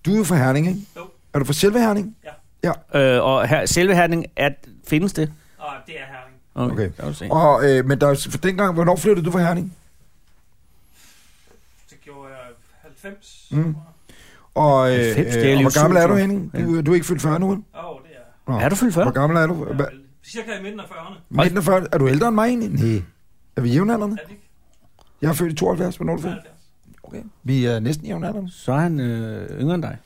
S2: du er jo fra Herning, ikke? Jo. Er du fra selve Herning? Ja. Ja,
S3: Øh, og her, selve Herning, er, findes det?
S5: Og det er herring.
S2: Okay.
S3: kan du se.
S2: og, øh, men der, er jo- for dengang, hvornår flyttede du fra Herning?
S5: Det gjorde jeg 90.
S2: Mm. Og, øh, øh,
S3: Halvfems, det er
S2: og
S3: lige
S2: hvor gammel
S3: syv,
S2: er du,
S3: så.
S2: Henning? Du, øh, du er ikke fyldt 40 nu, vel?
S5: Åh, oh, det er
S2: Nå.
S3: Er du fyldt 40?
S2: Hvor gammel er du? Hva-
S5: jeg. Cirka i midten af 40'erne.
S2: Midten af 40? Er du ældre end mig egentlig? Nej. Er vi jævnaldrende?
S5: Er det ikke?
S2: Jeg er født i 72, hvornår er du født?
S5: 70.
S2: Okay. Vi er næsten jævnaldrende.
S3: Så er han øh, yngre end dig.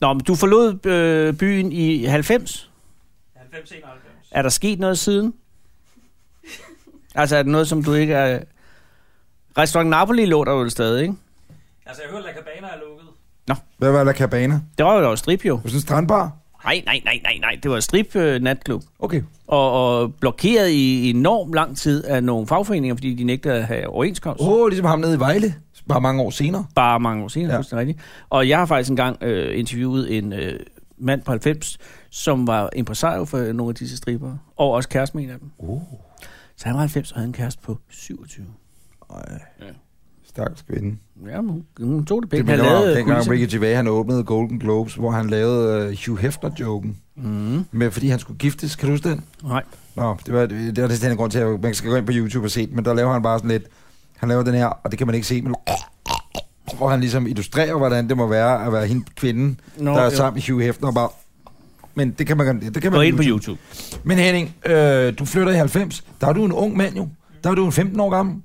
S3: Nå, men du forlod øh, byen i 90.
S5: 90, 91.
S3: Er der sket noget siden? altså, er det noget, som du ikke er... Restaurant Napoli lå der jo stadig, ikke?
S5: Altså, jeg hører, at La Cabana er lukket.
S2: Hvad var La Cabana? Er
S3: Det var jo der var strip, jo.
S2: du sådan en strandbar?
S3: Nej, nej, nej, nej, nej. Det var strip øh, natklub.
S2: Okay.
S3: Og, og blokeret i enormt lang tid af nogle fagforeninger, fordi de nægtede at have overenskomst.
S2: Åh, oh, ligesom ham nede i Vejle. Bare mange år senere.
S3: bare mange år senere,
S2: Ja.
S3: ja. fuldstændig rigtigt. Og jeg har faktisk engang øh, interviewet en øh, mand på 90, som var impresario for nogle af disse stripper, og også kæresten med en af dem.
S2: Oh.
S3: Så han var 90 og havde en kæreste på 27.
S2: Stakkels kvinde.
S3: Ja, men hun, hun tog det
S2: Det
S3: pænt. Han
S2: minder om,
S3: lavede
S2: dengang
S3: guld-
S2: Ricky Gervais, han åbnede Golden Globes, hvor han lavede øh, Hugh Hefner-joken.
S3: Mm.
S2: Med, fordi han skulle giftes, kan du huske den?
S3: Nej.
S2: Nå, det var, det var det, den grund til, at man skal gå ind på YouTube og se den, men der laver han bare sådan lidt, han laver den her, og det kan man ikke se, men hvor han ligesom illustrerer, hvordan det må være at være hende kvinden,
S3: Nå,
S2: Nå, der er
S3: jo.
S2: sammen med Hugh Hefner og bare... Men det kan man, det kan man
S3: Gå ind på YouTube.
S2: Men Henning, øh, du flytter i 90. Der er du en ung mand jo. Der er du en 15 år gammel.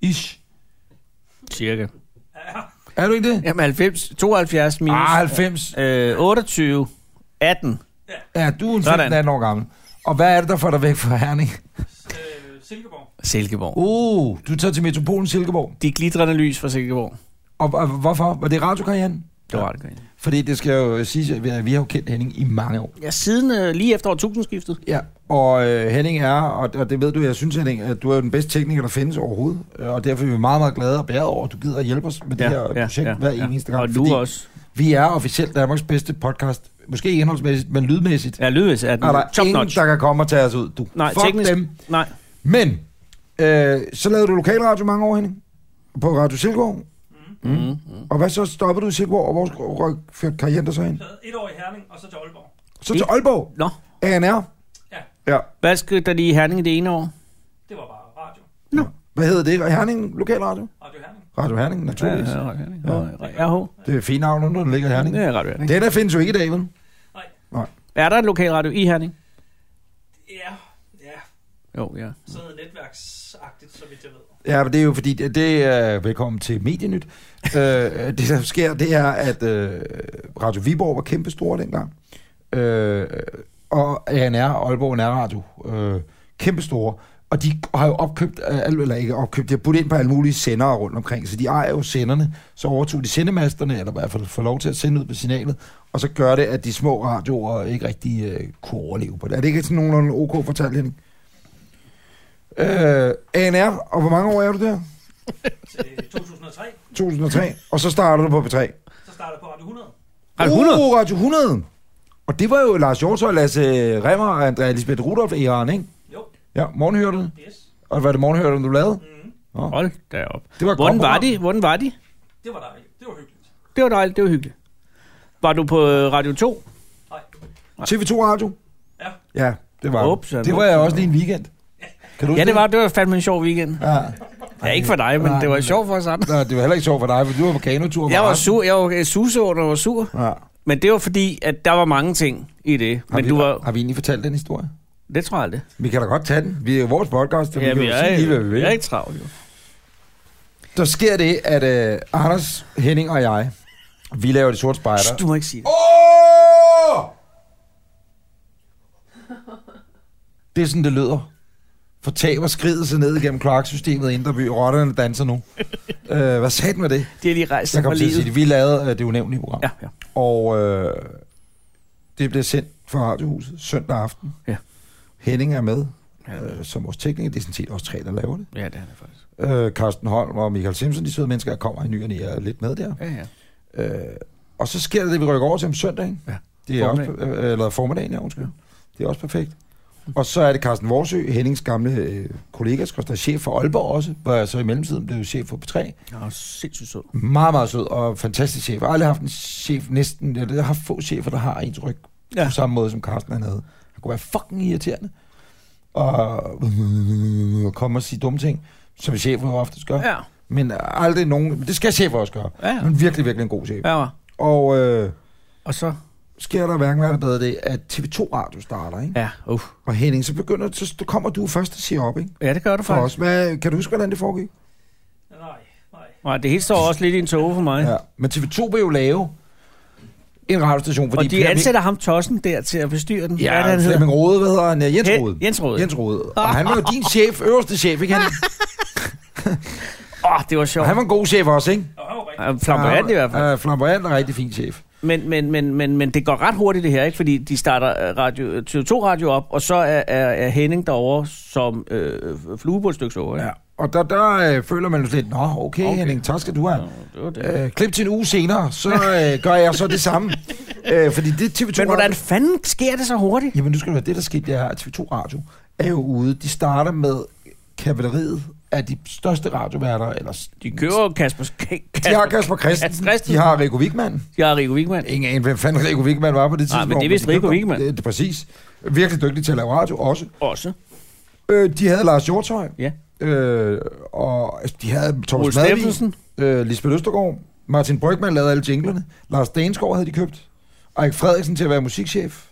S2: Ish.
S3: Cirka.
S2: Er du ikke det?
S3: Jamen 90, 72 minus
S2: Ah, 90.
S3: øh, 28, 18.
S2: Ja, du er en
S3: Sådan.
S2: 15 år gammel. Og hvad er det, der får dig væk fra Herning?
S10: Øh, Silkeborg.
S3: Silkeborg.
S2: Uh, du tager til Metropolen Silkeborg.
S3: De glitrende lys fra Silkeborg.
S2: Og, og hvorfor? Var det radiokarrieren?
S3: Det var det godt.
S2: Fordi det skal jo sige, at vi har- vi har jo kendt Henning i mange år.
S3: Ja, siden øh, lige efter årtusindskiftet.
S2: Ja, og øh, Henning er, og, og det ved du, jeg synes Henning, at du er jo den bedste tekniker, der findes overhovedet. Øh, Og derfor er vi meget, meget glade og bæret over, at du gider at hjælpe os med ja, det her ja, projekt ja, hver ja. eneste gang.
S3: Og du også.
S2: Vi er officielt Danmarks bedste podcast. Måske ikke indholdsmæssigt, men lydmæssigt. Ja.
S3: Ja, lydvis er den
S2: Er der
S3: top
S2: ingen,
S3: notch.
S2: der kan komme og tage os ud? Du.
S3: Nej,
S2: Fuck
S3: teknisk.
S2: dem.
S3: Nej.
S2: Men, øh, så lavede du lokalradio mange år, Henning. På Radio Silkeborg.
S3: Mm. Mm.
S2: Og hvad så stoppede du i Silkeborg, og hvor røg- førte karrieren der så hen?
S10: Et år i Herning, og så til Aalborg.
S2: Så til Aalborg.
S3: Nå.
S2: ANR.
S10: Ja.
S2: ja.
S3: Hvad skete der lige i Herning det ene år?
S10: Det var bare radio.
S2: Hvad hedder det? Herning Lokalradio?
S10: Radio Herning.
S2: Radio Herning, naturligvis. Ja, ja.
S3: Radio Herning. Ja. RH.
S2: Det er fint navn, når den ligger i Herning.
S3: Det er Radio Herning.
S2: Den der findes jo ikke i dag, vel?
S3: Er der et lokalradio i Herning?
S10: Ja, ja.
S3: Jo, ja.
S10: Sådan noget netværksagtigt, så vidt jeg ved.
S2: Ja, men det er jo fordi, det, det er velkommen til Medienyt. øh, det der sker, det er, at øh, Radio Viborg var kæmpestor dengang. Øh, og ANR, Aalborg Nærradio, øh, kæmpestore. Og de har jo opkøbt, øh, al- eller ikke opkøbt, de har puttet ind på alle mulige sendere rundt omkring, så de ejer jo senderne. Så overtog de sendemasterne, eller i hvert fald får lov til at sende ud på signalet, og så gør det, at de små radioer ikke rigtig øh, kunne overleve på det. Er det ikke sådan nogenlunde ok fortalt, Henning? Øh, ANR, og hvor mange år er du der?
S10: Til 2003,
S2: 2003. Og så starter du på P3.
S10: så startede jeg på Radio 100.
S3: Radio 100?
S2: Uh, Radio 100. Og det var jo Lars Hjortøj, Lasse Remmer og Andrea Lisbeth Rudolf æraen, ikke?
S10: Jo,
S2: Ja, morgenhørte.
S10: yes.
S2: Og hvad er det morgenhørte, du lavede?
S3: Hold da op.
S2: Det var et
S3: Hvordan
S2: godt
S3: var
S2: program.
S3: de? Hvordan var de?
S10: Det var dejligt. Det var hyggeligt.
S3: Det var dejligt, det var hyggeligt. Var du på øh, Radio 2?
S10: Nej,
S2: TV2 Radio.
S10: Ja.
S2: Ja, det var
S3: Ups,
S2: det.
S3: ups,
S2: Det var jeg
S3: ups.
S2: også lige en weekend. Kan du
S3: Ja,
S2: huske
S3: det var, det var fandme en sjov weekend.
S2: Ja.
S3: Ja, ikke for dig, men
S2: Nej,
S3: det var
S2: men-
S3: sjovt for os andre.
S2: Nå, det var heller ikke sjovt for dig, for du var på kanotur.
S3: Jeg var
S2: resten.
S3: sur, jeg var øh, susse over, når jeg var sur.
S2: Ja.
S3: Men det var fordi, at der var mange ting i det.
S2: Har,
S3: Men
S2: vi,
S3: du var...
S2: har vi egentlig fortalt den historie?
S3: Det tror jeg aldrig.
S2: Vi kan da godt tage den. Vi er jo vores podcast, så ja, vi kan jo sige lige, hvad vi
S3: er,
S2: vil.
S3: vi er ikke travlt, jo.
S2: Der sker det, at øh, Anders, Henning og jeg, vi laver det sorte
S3: Shh,
S2: spejder.
S3: Du må ikke sige det.
S2: Åh! Det er sådan, det lyder. Fortaber skridet sig ned igennem kloaksystemet i Indreby. Rotterne danser nu. øh, hvad sagde den med det?
S3: Det er lige rejst sig
S2: Jeg
S3: fra
S2: kom til at sige
S3: livet.
S2: det. Vi lavede øh, det unævnlige program.
S3: Ja, ja.
S2: Og øh, det bliver sendt fra Radiohuset søndag aften.
S3: Ja.
S2: Henning er med, øh, som vores tekniker. Det er sådan set også tre, der laver det.
S3: Ja, det er det faktisk.
S2: Øh, Carsten Holm og Michael Simpson, de søde mennesker, der kommer i nyerne, jeg er lidt med der.
S3: Ja, ja.
S2: Øh, og så sker der det, vi rykker over til om søndagen.
S3: Ja.
S2: Det er også,
S3: Formiddagen.
S2: øh, eller formiddagen, ja, undskyld. Det er også perfekt. Og så er det Carsten Vorsø, Hennings gamle øh, kollega, skal der er chef for Aalborg også, hvor jeg så i mellemtiden blev chef for P3.
S3: Jeg var sindssygt sød.
S2: Meget, meget sød og fantastisk chef. Jeg har aldrig haft en chef næsten, eller jeg har haft få chefer, der har ens ryg ja.
S3: Ja.
S2: på samme måde, som Carsten han havde. Han kunne være fucking irriterende. Og, og komme og sige dumme ting, som chefer jo ofte gør.
S3: Ja,
S2: Men aldrig nogen, men det skal chefer også gøre.
S3: ja, ja.
S2: Men virkelig, virkelig en god chef.
S3: ja. var.
S2: Og øh,
S3: Og så?
S2: sker der hverken hvad bedre det, at TV2 Radio starter, ikke?
S3: Ja, uh.
S2: Og Henning, så begynder, så kommer du først og siger op, ikke?
S3: ja det gør du
S2: For
S3: faktisk.
S2: os. Hvad, kan du huske, hvordan det foregik?
S10: Nej, nej.
S3: Nej, det hele står også lidt i en tåge for mig. Ja.
S2: Men TV2 vil jo lave en radiostation, fordi...
S3: Og de
S2: Per-
S3: ansætter ham tossen der til at forstyrre den. Hvad er
S2: Ja,
S3: det, han hedder?
S2: Flemming Rode, hvad hedder han? Ja, Jens
S3: Hen-
S2: Rode.
S3: Jens Rode.
S2: Jens Rode. Og han var jo din chef, øverste chef, ikke? Han,
S3: Åh, oh, det var
S2: og
S3: sjovt.
S2: han var en god chef også, ikke?
S10: Og han var rigtig.
S3: Han... Flamboyant i hvert fald.
S2: Ja, flamboyant og rigtig fin chef.
S3: Men, men, men, men, men det går ret hurtigt det her, ikke? Fordi de starter øh, radio, TV2 Radio op, og så er, er, er Henning derovre som øh, flue på et stykke sukker, ikke?
S2: Ja. Og der, der øh, føler man jo lidt, nå, okay, okay. Henning, tak skal du have.
S3: Det var det.
S2: Øh, klip til en uge senere, så øh, gør jeg så det samme. Øh, fordi det TV2
S3: Men
S2: Radio-
S3: hvordan fanden sker det så hurtigt?
S2: Jamen, nu skal du høre, det der skete, det er, at TV2 Radio er jo ude. De starter med kavaleriet af de største radioværter. Eller
S3: De kører jo Kasper, K- Kasper,
S2: de har Kasper Christensen,
S3: Kasper Christensen.
S2: de har Rico Wigman.
S3: de har Rico Wigman.
S2: Ingen anelse, hvem fanden Rico Wigman var på det
S3: Nej, men
S2: tidspunkt.
S3: det er vist
S2: de købte
S3: Rico
S2: ham.
S3: Wichmann.
S2: Det, det, er præcis. Virkelig dygtig til at lave radio også.
S3: Også.
S2: Øh, de havde Lars Hjortøj.
S3: Ja.
S2: Øh, og altså, de havde Thomas
S3: Ole
S2: Madvig,
S3: Steffensen.
S2: øh, Lisbeth Østergaard, Martin Brygman lavede alle jinglerne, Lars Danskov havde de købt, Erik Frederiksen til at være musikchef.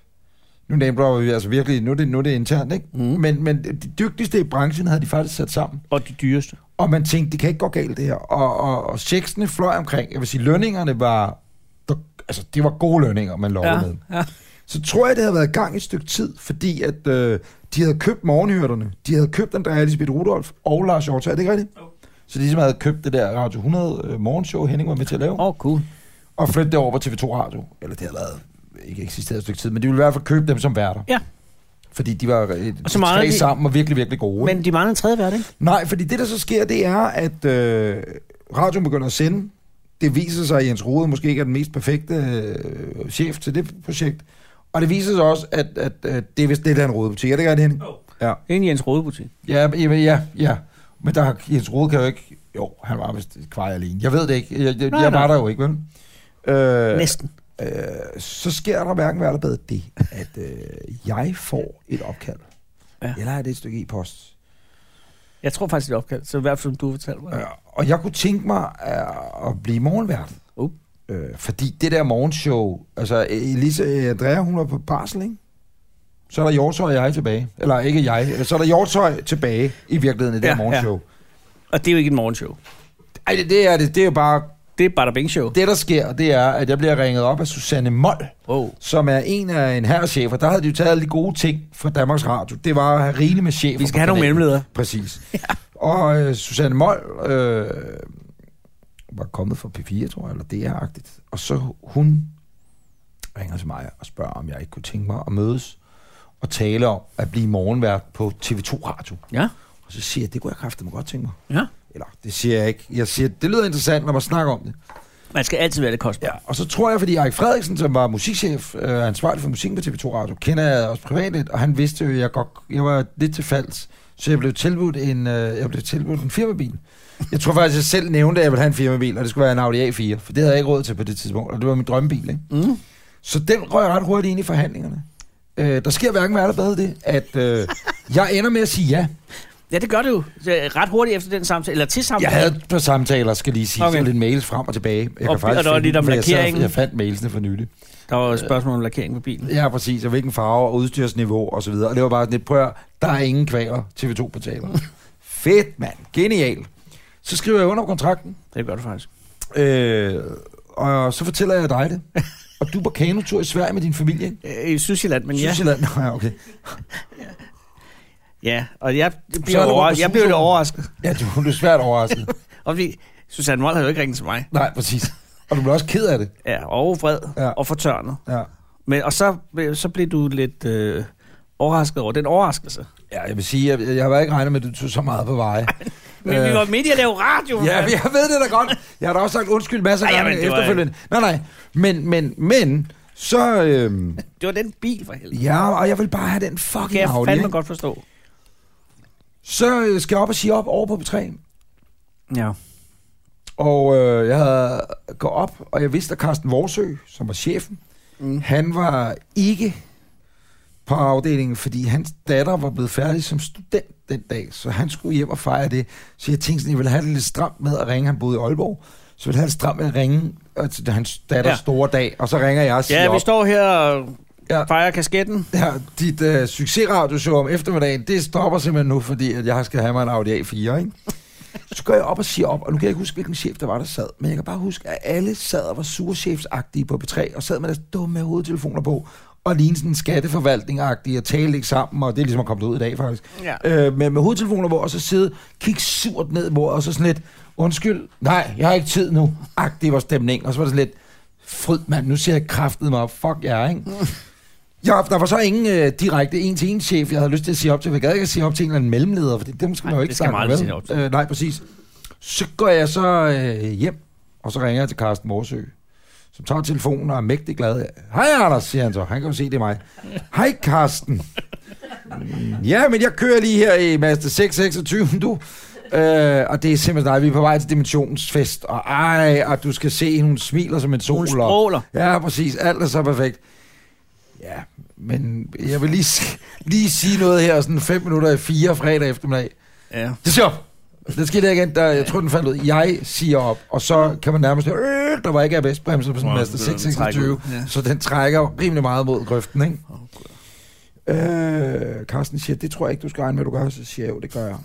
S2: Nu nævner vi altså virkelig, nu er det, nu er det internt, ikke? Mm.
S3: Mhm.
S2: Men, men de dygtigste i branchen havde de faktisk sat sammen.
S3: Og de dyreste.
S2: Og man tænkte, det kan ikke gå galt det her. Og, og, og checksene fløj omkring. Jeg vil sige, lønningerne var... Der, altså, det var gode lønninger, man lovede
S3: Ja,
S2: med
S3: ja.
S2: så tror jeg, det havde været i gang et stykke tid, fordi at øh, de havde købt morgenhørterne, de havde købt Andrea Elisabeth Rudolf og Lars Hjort, er det ikke rigtigt? Så de ligesom havde købt det der Radio 100 øh, morgenshow, Henning var med til at lave,
S3: Åh, oh, cool.
S2: og flyttet det over på TV2 Radio. Eller det havde været ikke eksisteret et stykke tid, men de ville i hvert fald købe dem som værter.
S3: Ja.
S2: Fordi de var øh,
S3: Og så
S2: de
S3: mangler
S2: tre
S3: de-
S2: sammen og virkelig, virkelig gode.
S3: Men de mangler en tredje vært, ikke?
S2: Nej, fordi det, der så sker, det er, at øh, radioen begynder at sende. Det viser sig, at Jens Rode måske ikke er den mest perfekte øh, chef til det projekt. Og det viser sig også, at, at, at det er vist det, der er en rodebutik. Er det ikke det, Henning? Ja.
S3: Det er en Jens Rodebutik.
S2: Ja, ja, ja, ja. Men der, Jens Rode kan jo ikke... Jo, han var vist kvej alene. Jeg ved det ikke. Jeg, jeg,
S3: Nej,
S2: jeg var
S3: nej.
S2: der jo ikke, vel? Øh,
S3: Næsten.
S2: øh, så sker der hverken hvad der bedre det, at øh, jeg får et opkald.
S3: Ja.
S2: Ja. Eller er det et stykke e-post?
S3: Jeg tror faktisk, det er opkaldt. Så i hvert fald, som du fortalte mig.
S2: Øh, og jeg kunne tænke mig øh, at blive morgenvært.
S3: Uh.
S2: Øh, fordi det der morgenshow, altså Elisa, øh, Andrea, hun er på barsel, ikke? Så er der Hjortøj og jeg tilbage. Eller ikke jeg, øh, så er der Hjortøj tilbage i virkeligheden i det
S3: Ja,
S2: ja, her morgenshow.
S3: Og det er jo ikke et morgenshow.
S2: Ej, det, det er det, det er jo bare...
S3: Det er Bada Bing Show.
S2: Det, der sker, det er, at jeg bliver ringet op af Susanne Moll,
S3: Wow.
S2: som er en af en herrechefer. Der havde de jo taget alle de gode ting fra Danmarks Radio. Det var at have rigeligt med chefer.
S3: Vi skal
S2: på
S3: have nogle
S2: kanalen.
S3: mellemledere.
S2: Præcis. Ja. Og øh, Susanne Moll øh, var kommet fra P4, tror jeg, eller DR-agtigt. Og så hun ringer til mig og spørger, om jeg ikke kunne tænke mig at mødes og tale om at blive morgenvært på TV2 Radio.
S3: Ja.
S2: Og så siger jeg, det kunne jeg kraftedeme godt tænke mig.
S3: Ja.
S2: Eller, det siger jeg ikke. Jeg siger, det lyder interessant, når man snakker om det.
S3: Man skal altid være lidt kostbar.
S2: Ja, og så tror jeg, fordi Erik Frederiksen, som var musikchef, øh, ansvarlig for musikken på TV2 Radio, kender jeg også privat lidt, og han vidste jo, at jeg, godt, jeg var lidt til falds. Så jeg blev tilbudt en, øh, jeg blev tilbudt en firmabil. Jeg tror faktisk, jeg selv nævnte, at jeg ville have en firmabil, og det skulle være en Audi A4, for det havde jeg ikke råd til på det tidspunkt, og det var min drømmebil. Ikke?
S3: Mm.
S2: Så den røg ret hurtigt ind i forhandlingerne. Øh, der sker hverken hvad der bad det, at øh, jeg ender med at sige ja.
S3: Ja, det gør det jo. Så øh, Ret hurtigt efter den samtale, eller til
S2: Jeg
S3: samtalen.
S2: havde et par samtaler, skal lige sige,
S3: Okay.
S2: okay. så lidt mails frem og tilbage. Jeg
S3: Og- og der var
S2: finde
S3: lidt om
S2: dem, for jeg sad-
S3: lakeringen.
S2: Jeg fandt mailsene for nylig.
S3: Der var et spørgsmål om lakering på bilen.
S2: Ja, præcis. Og hvilken farve og udstyrsniveau og så videre. Og det var bare sådan lidt, prøv at høre, der er ingen kvaler, TV2 betaler. Fedt, mand. Genial. Så skriver jeg under på kontrakten,
S3: Det gør det faktisk.
S2: øh, og så fortæller jeg dig det. Og du er på kanotur i Sverige med din familie, ikke?
S3: Øh, I Sydsjælland, men ja.
S2: Sydsjælland. Nå, ja, okay.
S3: Ja, og jeg
S2: er
S3: bliver,
S2: du
S3: over,
S2: rundt på
S3: jeg bliver lidt
S2: Sydsjælland.
S3: overrasket.
S2: Ja, du, du er svært overrasket.
S3: Og fordi Susanne Moll havde jo ikke ringet til mig.
S2: Nej, præcis. Og du bliver også ked af det.
S3: Ja, og vred ja.
S2: Ja.
S3: og fortørnet.
S2: Ja.
S3: Men, og så, blev- så blev du lidt øh, overrasket over den overraskelse.
S2: ja, jeg vil sige, jeg, jeg har ikke regnet med, at du tog så meget på veje.
S3: Men øh. vi var midt i at lave radio.
S2: Ja, men
S3: vi...
S2: jeg ved det da godt. Jeg har da også sagt undskyld masser af
S3: Ej,
S2: gange
S3: jamen, det var-
S2: efterfølgende. Nej, nej. Men, men, men, så... Øhm,
S3: Det var den bil for helvede.
S2: Ja, og jeg vil bare have den
S3: Det kan
S2: fucking
S3: jeg
S2: Audi.
S3: fandme
S2: Ikke?
S3: godt forstå.
S2: Så øh, skal jeg op og sige op over på B3.
S3: Ja.
S2: Og øh, jeg havde går op, og jeg vidste, at Carsten Vorsø, som var chefen, mm. han var ikke på afdelingen, fordi hans datter var blevet færdig som student den dag, så han skulle hjem og fejre det. Så jeg tænkte sådan, jeg ville have det lidt stramt med at ringe. Han boede i Aalborg, så ville jeg have det stramt med at ringe øh, til hans datters
S3: Ja.
S2: ja. store dag, og så ringer jeg og siger
S3: Ja, vi
S2: op.
S3: står her og
S2: Ja.
S3: fejrer kasketten.
S2: Ja, dit øh, succesradioshow om eftermiddagen, det stopper simpelthen nu, fordi at jeg skal have mig en Audi A4, ikke? Så går jeg op og siger op, og nu kan jeg ikke huske, hvilken chef der var, der sad, men jeg kan bare huske, at alle sad og var surchefsagtige på B3, og sad med deres dumme hovedtelefoner på, og lignede sådan skatteforvaltning-agtige, og talte ikke sammen, og det er ligesom at komme ud i dag, faktisk.
S3: Ja.
S2: Øh, med, med hovedtelefoner på, og så sidde, kigge surt ned på, og så sådan lidt, undskyld, nej, jeg har ikke tid nu, agtig var stemning, og så var det sådan lidt, fryd mand, nu ser jeg kraftet mig op, fuck jer, ikke? Ja, der var så ingen øh, direkte en-til-en chef, jeg havde lyst til at sige op til. for Jeg gad ikke at sige op til en eller anden mellemleder, for det, dem skal man jo ikke
S3: det skal
S2: snakke
S3: man
S2: med,
S3: aldrig
S2: vel?
S3: sige op til.
S2: Øh, nej, præcis. Så går jeg så øh, hjem, og så ringer jeg til Carsten Morsø, som tager telefonen og er mægtig glad. Hej Anders, siger han så. Han kan jo se, det er mig. Hej Carsten. Mm, Ja, men jeg kører lige her i Mazda 626, du. Øh, og det er simpelthen dig. Vi er på vej til dimensionsfest. Og ej, og du skal se, hun smiler som en sol.
S3: Hun
S2: og-
S3: stråler.
S2: Ja, præcis. Alt er så perfekt. Ja, men jeg vil lige, si- lige sige noget her, sådan fem minutter i fire fredag eftermiddag.
S3: Ja.
S2: Det skal op. Det skete der igen. Der, jeg tror, den faldt ud. Jeg siger op, og så kan man nærmest... Øh, der var ikke ABS-bremser på sådan en Mazda
S3: den trækker
S2: 626,
S3: ud. Ja.
S2: så den trækker jo rimelig meget mod grøften, ikke? Øh, Carsten siger, det tror jeg ikke, du skal regne med, du gør. Så siger jeg, jo, det gør jeg.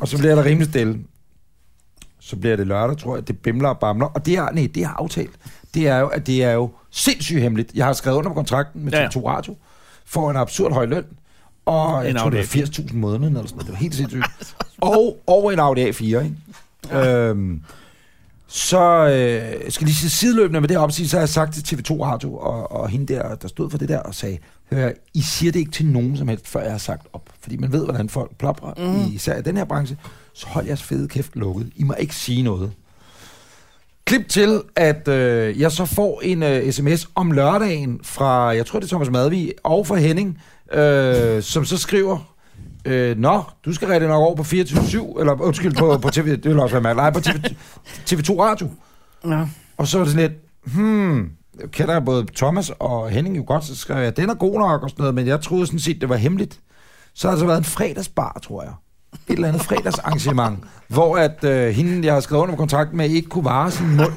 S2: Og så bliver der rimelig stille. Så bliver det lørdag, tror jeg. Det bimler og bamler. Og det er, nej, det er aftalt. Det er jo, at det er jo sindssygt hemmeligt. Jeg har skrevet under på kontrakten med
S3: Ja, ja.
S2: TV2 Radio for en absurd høj løn. Og jeg
S3: En
S2: tror, det
S3: Audi
S2: var 80.000 om måneden eller sådan noget. Det var helt sindssygt. Og, og en Audi A4, ikke? Øhm, så øh, jeg skal lige sige sideløbende med det opsigt, så har jeg sagt til TV2 Radio og, og hende der, der stod for det der, og sagde, hør, I siger det ikke til nogen som helst, før jeg har sagt op. Fordi man ved, hvordan folk plopper,
S3: Mhm.
S2: mm. især i den her branche. Så hold jeres fede kæft lukket. I må ikke sige noget. Klip til, at øh, jeg så får en øh, sms om lørdagen fra, jeg tror det er Thomas Madvig, og fra Henning, øh, som så skriver, øh, Nå, du skal rigtig nok over på 24-7, eller undskyld, på, på TV, det vil også være mærkeligt, nej, på TV, TV2 Radio.
S3: Ja.
S2: Og så er det sådan lidt, hmm, jeg kender både Thomas og Henning jo godt, så skrev jeg, den er god nok og sådan noget, men jeg troede sådan set, det var hemmeligt. Så har der så været en fredagsbar, tror jeg. Et eller andet fredagsarrangement, hvor at øh, hende, jeg har skrevet under kontrakt med, ikke kunne vare sin mund.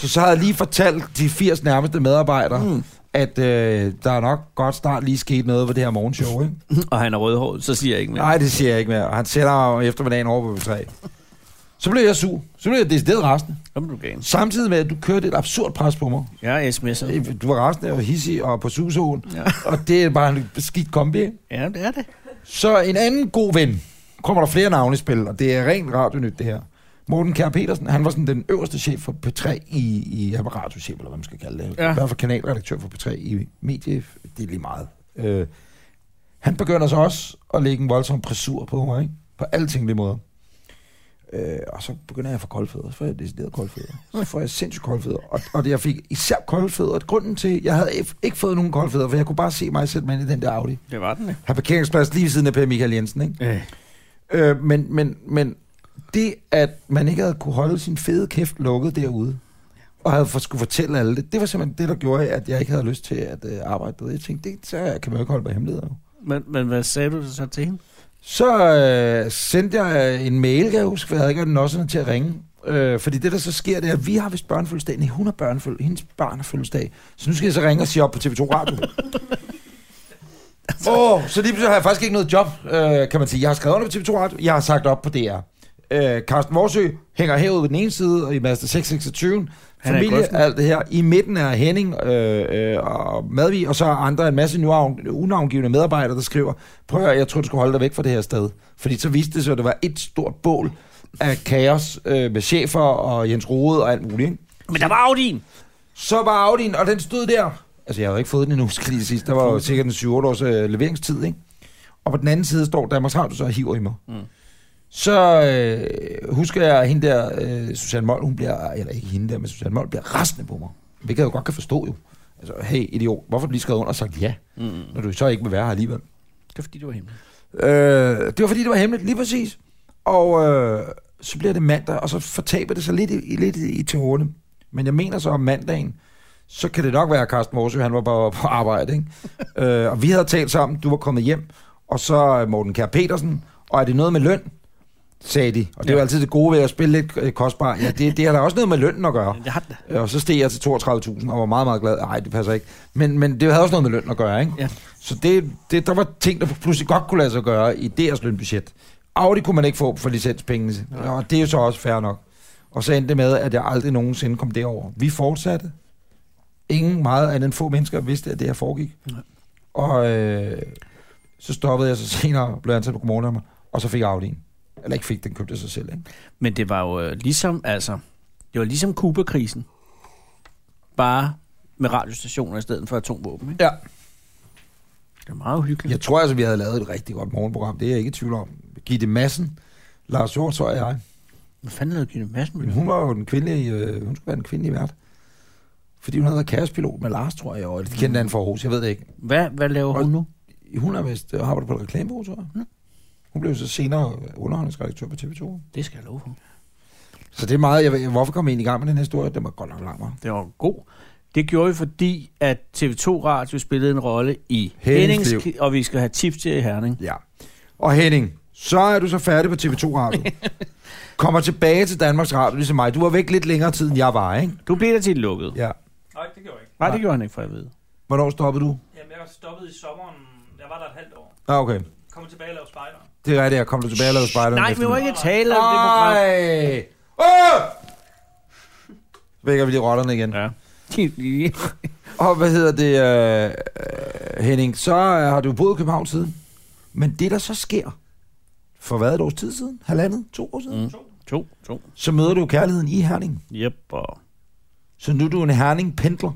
S2: Så så havde jeg lige fortalt de 80 nærmeste medarbejdere, mm. at øh, der er nok godt snart lige sket noget ved det her morgenshow, ikke?
S3: Og han er rødhåret, så siger jeg ikke mere.
S2: Nej, det siger jeg ikke mere. Og Han sætter mig om eftermiddagen over på B3. Så blev jeg sur. Så blev jeg decideret rasende.
S3: Så er du gal.
S2: Samtidig med, at du kørte et absurd pres på mig.
S3: Jeg er sms'er.
S2: Du var rasende og hissig og på susåen.
S3: Ja.
S2: Ja. Og det er bare en skidt kombi. ikke?
S3: Ja, det er det.
S2: Så en anden god ven. Kommer der flere navne i spil, og det er rent radionyt det her. Morten Kjær Petersen, han var sådan den øverste chef for P3 i, i han var radiochef, eller hvad man skal kalde det.
S3: Ja.
S2: Ja. I hvert fald kanalredaktør for P3 i medie, det er lige meget. Øh, han begynder så også at lægge en voldsom pressur på mig, ikke? På alle tænkelige måder. Øh, og så begynder jeg at få koldfødder. Så får jeg decideret koldfødder. Så får jeg sindssygt koldfødder. Og, og det, jeg fik især koldfødder. Grunden til, jeg havde if- ikke fået nogen koldfødder, for jeg kunne bare se mig sætte mig ind i den der Audi.
S3: Det var den, ja.
S2: Har parkeringsplads lige ved siden af Per Michael Jensen, ikke? Øh, men, men, men det, at man ikke havde kunne holde sin fede kæft lukket derude, og havde for, skulle fortælle alle det, det var simpelthen det, der gjorde, at jeg ikke havde lyst til at øh, arbejde derude. Jeg tænkte, det så kan man jo ikke holde på hemmeligheder. jo.
S3: Men, men hvad sagde du så til hende?
S2: Så øh, sendte jeg øh, en mail, kan jeg huske, for jeg havde ikke den også til at ringe. Øh, fordi det, der så sker, det er, at vi har vist børnefødselsdag. Nej, hun har børnefødselsdag. Hendes barn har fødselsdag. Så nu skal jeg så ringe og sige op på TV2 Radio. Åh, oh, så lige pludselig har jeg faktisk ikke noget job, øh, kan man sige. Jeg har skrevet under på TV2 Radio. Jeg har sagt op på DR. Øh, Carsten Morsø hænger herude på den ene side, og i Master 626.
S3: Han er i
S2: Familie,
S3: grøften.
S2: alt det her. I midten er Henning øh, øh, og Madvig, og så er andre en masse nuavn- unavngivende medarbejdere, der skriver, prøv at høre, jeg tror, du skulle holde dig væk fra det her sted. Fordi så viste det sig, at det var et stort bål af kaos øh, med chefer og Jens Rode og alt muligt. Ikke?
S3: Men der var Audien!
S2: Så var Audi'en, og den stod der. Altså, jeg havde jo ikke fået den endnu, skal jeg lige sige. Der var jo sikkert en 7-8 års øh, leveringstid, ikke? Og på den anden side står Danmarks Radio så og hiver i mig. Mm. Så øh, husker jeg, at hende der, øh, Susanne Mold, hun bliver, eller ikke hende der, men Susanne Mold bliver rasende på mig. Hvilket jeg jo godt kan forstå jo. Altså, hey idiot, hvorfor har du lige skrevet under og sagt ja, mm. når du så ikke vil være her alligevel?
S3: Det var fordi, det var hemmeligt.
S2: Øh, det var fordi, det var hemmeligt, lige præcis. Og øh, så bliver det mandag, og så fortaber det sig lidt i, i- lidt i, i tårne. Men jeg mener så om mandagen, så kan det nok være, at Carsten Morsø, han var på, på arbejde, ikke? øh, og vi havde talt sammen, du var kommet hjem, og så øh, Morten Kær Petersen, og er det noget med løn? sagde de. Og det er jo altid det gode ved at spille lidt øh, kostbar. Ja, det, det har da også noget med lønnen at gøre.
S3: Jeg har den.
S2: Øh, Og så steg jeg til 32.000 og var meget, meget glad. Nej, det passer ikke. Men, men det havde også noget med løn at gøre, ikke?
S3: Ja.
S2: Så det, det, der var ting, der pludselig godt kunne lade sig gøre i deres lønbudget. Audi kunne man ikke få for licenspengene. Ja. Og det er jo så også fair nok. Og så endte det med, at jeg aldrig nogensinde kom derover. Vi fortsatte. Ingen meget andet end få mennesker vidste, at det her foregik. Ja. Og øh, så stoppede jeg så senere, blev ansat på Godmorgen og så fik jeg Audi'en. Eller ikke fik, den købte jeg sig selv, ikke?
S3: Men det var jo øh, ligesom, altså, det var ligesom Kuba-krisen. Bare med radiostationer i stedet for atomvåben, ikke?
S2: Ja.
S3: Det er meget uhyggeligt.
S2: Jeg tror altså, vi havde lavet et rigtig godt morgenprogram. Det er jeg ikke i tvivl om. Gitte Madsen, Lars Hjortøj og jeg.
S3: Hvad fanden lavede Gitte Madsen? med
S2: Men
S3: det?
S2: hun var jo den kvindelige, øh, hun skulle være den kvindelige vært. Fordi hun havde været kærespilot med Lars, tror jeg, og det kendte han for Aarhus, jeg ved det ikke.
S3: Hvad, hvad laver hun nu?
S2: Hun er vist øh, arbejder på et reklamebureau, tror jeg. Hun blev så senere underholdningsredaktør på TV2.
S3: Det skal jeg love for.
S2: Så det er meget... Jeg, ved- hvorfor kom jeg egentlig i gang med den her historie? Den var godt nok lang, var.
S3: Det var god. Det gjorde vi, fordi at TV2 Radio spillede en rolle i
S2: Hennings
S3: Hennings, Hennings og vi skal have tips til i Herning.
S2: Ja. Og Henning, så er du så færdig på TV2 Radio. Kommer tilbage til Danmarks Radio, ligesom mig. Du var væk lidt længere tid, end jeg var, ikke?
S3: Du blev der til lukket.
S2: Ja.
S10: Nej, det gjorde jeg ikke.
S3: Nej, det gjorde han ikke, for jeg ved.
S2: Hvornår stoppede du?
S10: Jamen, jeg stoppede i sommeren. Jeg var der et halvt år.
S2: Ah, okay.
S10: Kom tilbage og lavede spejder.
S2: Det er det, jeg kom du tilbage og lavede spejderne.
S3: Nej, vi må ikke tale om det program.
S2: Ej! Åh! Vækker vi lige rotterne igen.
S3: Ja.
S2: Og hvad hedder det, øh, øh, Henning? Så øh, har du boet i København siden. Men det, der så sker, for hvad er et års tid siden? Halvandet? To år siden? Mm.
S3: to, to.
S2: Så møder du kærligheden i Herning.
S3: Jep, og...
S2: Så nu er du en Herning-pendler.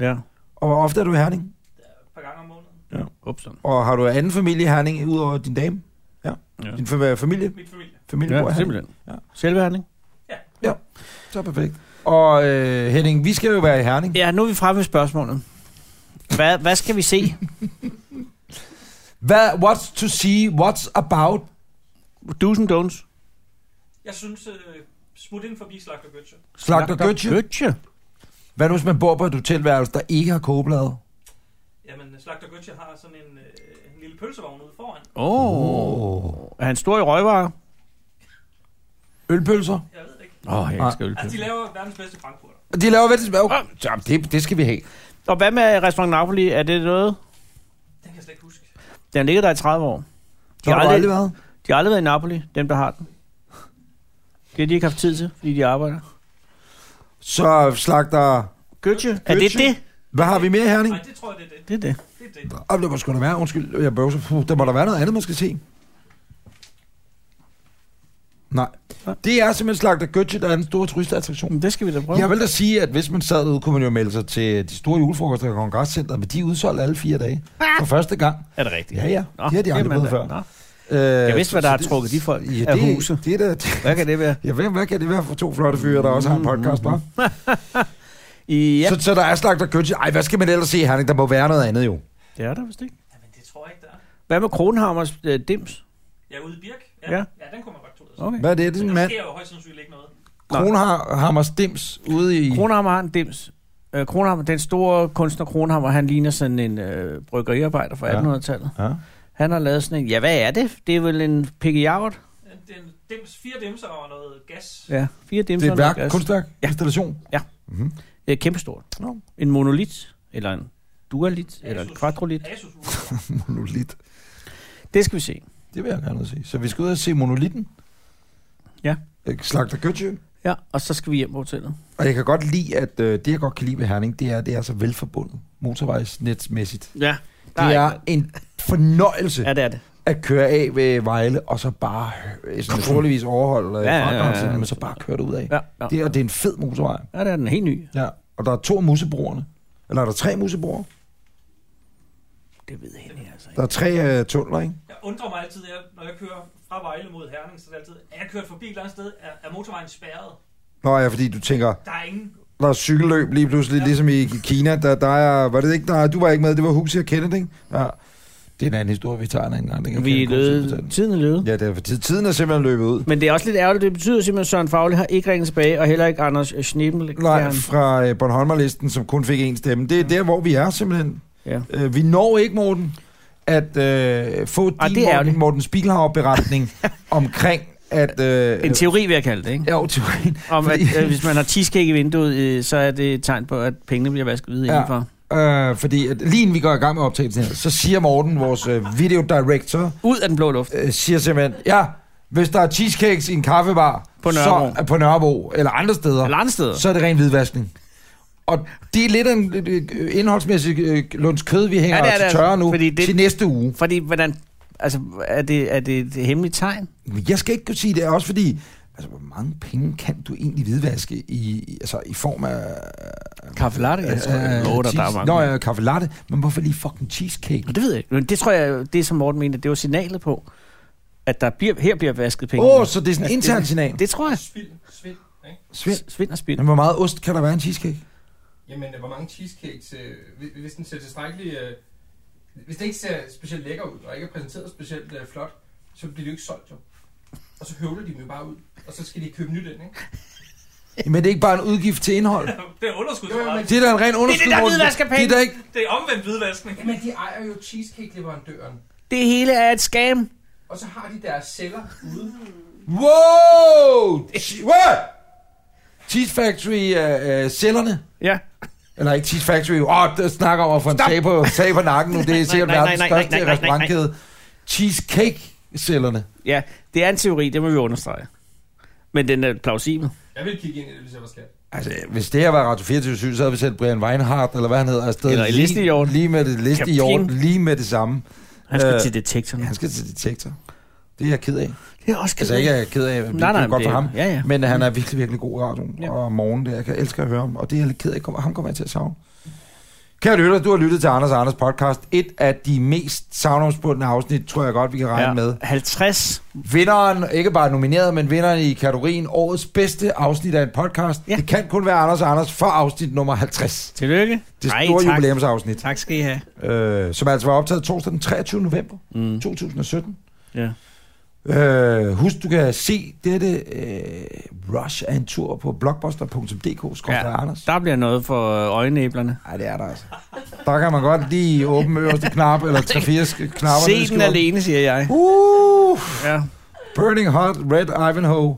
S3: Ja,
S2: Og hvor ofte er du i Herning?
S10: Et par gange om måneden.
S3: ja. Upsen.
S2: Og har du anden familie i Herning, udover din dame? Ja. ja.
S3: Ja.
S2: Din fa- familie?
S10: Min familie.
S2: Familie bor i
S3: Ja,
S2: Herning.
S3: simpelthen.
S2: Ja.
S3: Ja. Selve Herning.
S2: Så perfekt. Og øh, Henning, vi skal jo være i Herning.
S3: Ja, nu er vi fremme ved spørgsmålet. Hvad, hvad skal vi se?
S2: Hvad, what's to see? What's about?
S3: Do's and don'ts.
S10: Jeg synes, øh, smut ind forbi Slagter Gøtje.
S2: Slagter Gøtje?
S3: Gøtje.
S2: Hvad nu, hvis man bor på et hotelværelse, der ikke har kogeblade?
S10: Jamen, Slagter Gøtje har sådan en, øh, en lille pølsevogn ude foran.
S3: Åh. Oh. Er han stor i røgvarer?
S2: Ølpølser?
S10: Jeg ved det ikke.
S3: Åh, oh, jeg elsker
S10: Altså, de
S3: ølpølse.
S10: laver verdens bedste frankfurter.
S2: De laver vel tilbage. Okay. Jamen, Ah, det, det skal vi have.
S3: Og hvad med restaurant Napoli? Er det noget?
S10: Den kan jeg slet ikke huske.
S3: Den ligger der i 30 år.
S2: Så har du aldrig været?
S3: De har aldrig været i Napoli, dem der har den. Det har de ikke haft tid til, fordi de arbejder.
S2: Så slagter...
S3: Gøtje, er det
S2: Gøtje?
S3: det?
S2: Hvad har vi mere, Herning?
S10: Nej, det tror jeg, det er det.
S3: Det er det.
S10: Det er det.
S2: Om der må sgu da være, undskyld, jeg bøvser. Puh, der må der være noget andet, man skal se. Nej. Det er simpelthen slagter Gøtje, der er en stor turistattraktion.
S3: Men det skal vi da prøve.
S2: Jeg vil da sige, at hvis man sad derude, kunne man jo melde sig til de store julefrokoster i Kongresscenteret, men de er udsolgt alle fire dage. For første gang.
S3: Er det rigtigt?
S2: Ja, ja. Det har de
S3: det er
S2: aldrig
S3: man
S2: prøvet
S3: da.
S2: før.
S3: Nå.
S2: Øh,
S3: Jeg vidste, hvad der har trukket de folk
S2: ja,
S3: af
S2: det,
S3: huset.
S2: Det er da, Mm,
S3: Hvad kan det være?
S2: ja, hvad, hvad kan det være for to flotte fyre, der også har en podcast, hva'?
S3: I, ja,
S2: Så, så der er slagter Gøtje. Ej, hvad skal man ellers se, Herning? Der må være noget andet jo.
S3: det er der vist ikke.
S10: Jamen, det tror jeg ikke, der er.
S3: Hvad med Kronhammers øh, dims?
S10: Jeg er ude i Birk.
S3: Ja.
S10: ja. ja den kunne man godt tage ud og se.
S3: Okay.
S2: Hvad er det? Det er sådan en
S10: Der
S2: mand.
S10: sker jo højst sandsynligt ikke noget.
S2: Kronhammer Stims ude i...
S3: Kronhammer har en dims. Øh, Kronhammer, den store kunstner Kronhammer, han ligner sådan en øh, bryggeriarbejder fra
S2: Ja.
S3: 1800-tallet.
S2: Ja.
S3: Han har lavet sådan en, ja hvad er det? Det er vel en pikkejavret?
S10: Det er en dims, fire dimser og noget gas.
S3: Ja, fire dimser.
S2: Det er et
S3: og noget
S2: værk,
S3: glas.
S2: kunstværk, ja. installation.
S3: Det er kæmpestort.
S2: Nå.
S3: En monolit, eller en dualit, eller en
S10: Asus-
S3: kvadrolit.
S10: Asus
S2: Monolit.
S3: Det skal vi se.
S2: Det vil jeg gerne ud og se. Så vi skal ud og se monolitten.
S3: Ja.
S2: Øh, Slagter Gøtje.
S3: Ja, og så skal vi hjem på hotellet.
S2: Og jeg kan godt lide, at øh, det, jeg godt kan lide ved Herning, det er, at det er så velforbundet motorvejsnetsmæssigt.
S3: Ja, der
S2: Det
S3: er,
S2: er en fornøjelse
S3: ja, det er det.
S2: at køre af ved Vejle, og så bare øh, sådan naturligvis overholde ja,
S3: Ja, ja,
S2: ja,
S3: ja,
S2: ja, ja,
S3: ja.
S2: men så bare køre det ud af.
S3: Ja, ja.
S2: Det, og det er en fed motorvej.
S3: Ja, det er den helt ny.
S2: Ja. Og der er to musebroerne. Eller er der tre musebroer?
S3: Det ved Henning altså ikke.
S2: Der er tre øh, tunneler, ikke?
S10: Jeg undrer mig altid, jeg, når jeg kører fra Vejle mod Herning, så er det altid, er jeg kørt forbi et eller andet sted, er, er motorvejen spærret?
S2: Nå ja, fordi du tænker,
S10: Der er ingen...
S2: der er cykelløb lige pludselig, ja. ligesom i Kina. Der, der er, var det ikke, der, du var ikke med, det var Huxi og Kenneth, ikke? Ja. Det er en anden historie, vi tager en anden gang. Den kan
S3: Vi er
S2: Kenneth godt selv
S3: løbet,
S2: fortælle.
S3: tiden er løbet.
S2: Ja, det er for tid. Tiden er simpelthen løbet ud.
S3: Men det er også lidt ærgerligt, det betyder simpelthen, at Søren Fagli har ikke ringet tilbage, og heller ikke Anders Schneebel.
S2: Nej, fra øh, Bornholmerlisten, som kun fik én stemme. Det er der, hvor vi er simpelthen.
S3: Ja.
S2: Øh, vi når ikke, Morten, at øh, få din
S3: Ah, det er
S2: Morten,
S3: ærgerligt.
S2: Morten Spiegelhauer-beretning omkring, at... Øh,
S3: En teori, vil jeg kalde det, ikke?
S2: Ja, jo, teorien.
S3: Om, at
S2: Fordi-
S3: øh, hvis man har tiskæg i vinduet, øh, så er det et tegn på, at pengene bliver vasket videre
S2: Ja.
S3: ja. indenfor.
S2: Øh, fordi at, lige inden vi går i gang med optagelsen her, så siger Morten, vores øh, video director,
S3: Ud af den blå luft.
S2: øh, siger simpelthen, ja, hvis der er cheesecakes i en kaffebar
S3: På Nørrebro.
S2: Så, øh, på Nørrebro eller andre steder,
S3: Eller andre steder.
S2: så er det ren hvidvaskning. Og det er lidt en øh, indholdsmæssig øh, lunds kød, vi hænger
S3: Ja,
S2: ja,
S3: det er
S2: til
S3: det
S2: tørre
S3: altså,
S2: nu
S3: fordi det-
S2: til næste uge.
S3: Fordi, hvordan... Altså, er det, er det et hemmeligt tegn?
S2: Men Jeg skal ikke kunne sige det, også fordi, altså, hvor mange penge kan du egentlig hvidvaske i, i- altså, i form af...
S3: Kaffe latte? Jeg tror, jeg lover dig, der er mange.
S2: Nå, ja, kaffe latte, men hvorfor lige fucking cheesecake?
S3: Nå, det ved jeg ikke. Men det tror jeg, det som Morten mente, det var signalet på, at der bliver, her bliver vasket penge. Altså,
S2: Åh, oh, så det er sådan en intern signal.
S3: Det tror jeg.
S6: Spild, svind, ikke?
S2: Svend.
S3: Svind og spild.
S2: Men hvor meget ost kan der være i en cheesecake?
S6: Jamen, hvor mange cheesecakes, øh, hvis- hvis den ser tilstrækkelig øh, Hvis det ikke ser specielt lækker ud, og ikke er præsenteret specielt øh, flot, så bliver det jo ikke solgt jo. Og så høvler de dem jo bare ud, og så skal de købe nyt ind, ikke?
S2: Men det er ikke bare en udgift til indhold.
S10: Det er underskud.
S6: Jo, jo, men-
S2: Det er da en ren underskud.
S3: der
S2: Morten.
S3: hvidvask er penge.
S2: Det er da ikke...
S10: Det er omvendt hvidvaskning.
S6: Jamen, de ejer jo cheesecake-leverandøren,
S3: Det hele er et scam.
S6: og så har de deres celler ude.
S2: Wow! Che- What? Cheese Factory øh, øh, cellerne.
S3: Ja.
S2: Eller ikke Cheese Factory. Åh, oh, der snakker om at få en tag på, tag på nakken nu. Det er sikkert
S3: nej, nej,
S2: verdens
S3: nej, nej, nej,
S2: største
S3: nej, nej.
S2: restaurantkæde. Cheesecake-cellerne.
S3: Ja, det er en teori, det må vi understrege. Men den er plausibel.
S6: Jeg vil kigge ind i det, hvis jeg var skat.
S2: Altså, hvis det her var Radio 24 så havde vi sendt Brian Weinhardt, eller hvad han hedder, afsted.
S3: Eller i
S2: lige-
S3: listehjort.
S2: Lige med det, liste i jorden,
S3: Kaptajn.
S2: lige med det samme.
S3: Han skal
S2: Øh,
S3: øh, til detektoren.
S2: Han skal til detektor. Det er jeg ked af.
S3: Det er også
S2: Altså ikke er jeg ked af, det
S3: Nej, nej,
S2: er godt
S3: det-
S2: for ham,
S3: ja, ja.
S2: men han er virkelig, virkelig god i radioen,
S3: Ja.
S2: ja. og om morgenen der, jeg kan elsker at høre ham, og det er jeg lidt ked af, Kom- ham kommer jeg til at savne. Kære lytter, du har lyttet til Anders og Anders podcast, et af de mest savnomsbundne afsnit, tror jeg godt, vi kan regne ja. med.
S3: 50.
S2: Vinderen, ikke bare nomineret, men vinderen i kategorien årets bedste afsnit af en podcast,
S3: Ja.
S2: ja. det kan kun være Anders og Anders for afsnit nummer 50.
S3: Tillykke.
S2: Det
S3: Ej,
S2: store
S3: tak.
S2: jubilæumsafsnit,
S3: Tak skal I have.
S2: øh, som altså var optaget torsdag den 23. november
S3: Mm.
S2: 2017.
S3: Ja.
S2: Øh, husk, du kan se dette øh, rush af en tur på blockbuster.dk, skrådstræk
S3: Ja.
S2: Anders.
S3: Der bliver noget for øh, øjenæblerne.
S2: Nej, det er der altså. Der kan man godt lige åbne øverste knap, eller tre-fire knapper.
S3: Se den alene, siger jeg.
S2: Uh,
S3: Ja.
S2: Burning Hot, Red Ivanhoe.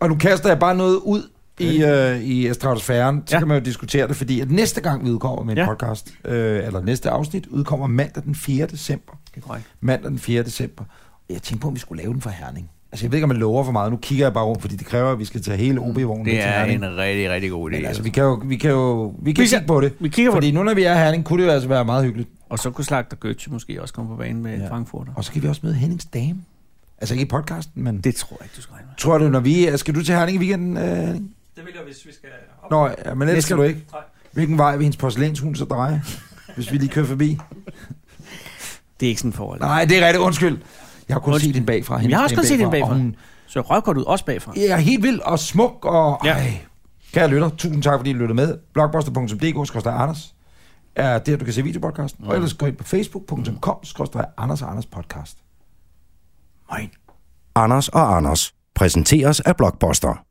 S2: Og nu kaster jeg bare noget ud i, øh, i stratosfæren, så
S3: Ja.
S2: ja. kan man jo diskutere det, fordi at næste gang vi udkommer med en
S3: Ja.
S2: ja. podcast, øh, eller næste afsnit, udkommer mandag den 4. december.
S3: Det er korrekt.
S2: mandag den 4. december. Og jeg tænkte på, om vi skulle lave den for Herning. Altså, jeg ved ikke, om jeg lover for meget. Nu kigger jeg bare rundt, fordi det kræver, at vi skal tage hele
S3: Mm.
S2: OB-vognen med
S5: Det
S2: til
S5: er
S2: Herning.
S5: en rigtig, rigtig god idé.
S2: Men altså, vi kan jo, vi kan jo vi kan
S3: Vi
S2: vi
S3: kan-
S2: kigge på det.
S3: Vi kigger på det.
S2: Fordi nu, når vi er i Herning, kunne det jo altså være meget hyggeligt.
S3: Og så kunne Slagter Goethe måske også komme på banen med ja.
S2: Ja.
S3: Frankfurter.
S2: Og så kan vi også møde Hennings dame. Altså ikke i podcasten, men... Det.
S3: Det tror jeg ikke, du skal regne med.
S2: Tror du, når vi... er- Skal du til Herning i weekenden, øh, Henning?
S10: Det vil jeg, hvis vi skal op.
S2: Nå, ja, men ellers skal du ikke.
S10: Nej.
S2: Hvilken vej vil hendes porcelænshund så dreje? hvis vi lige kører forbi.
S3: Det er ikke sådan forhold.
S2: Nej, det er rigtigt. Undskyld. Jeg har kun
S3: Undskyld.
S2: set hende bagfra.
S3: Jeg har også kun set hende bagfra.
S2: Og hun,
S3: Så røvkort ud også bagfra.
S2: Ja, helt vild og smuk og...
S3: Ja.
S2: Ja. Ej. Kære lytter, tusind tak, fordi I lyttede med. Blogbuster.dk, skrøster Anders, er der, du kan se videopodcasten. Og ellers gå ind på facebook.com, skrøster Anders og Anders podcast.
S1: Anders og Anders præsenteres af Blockbuster.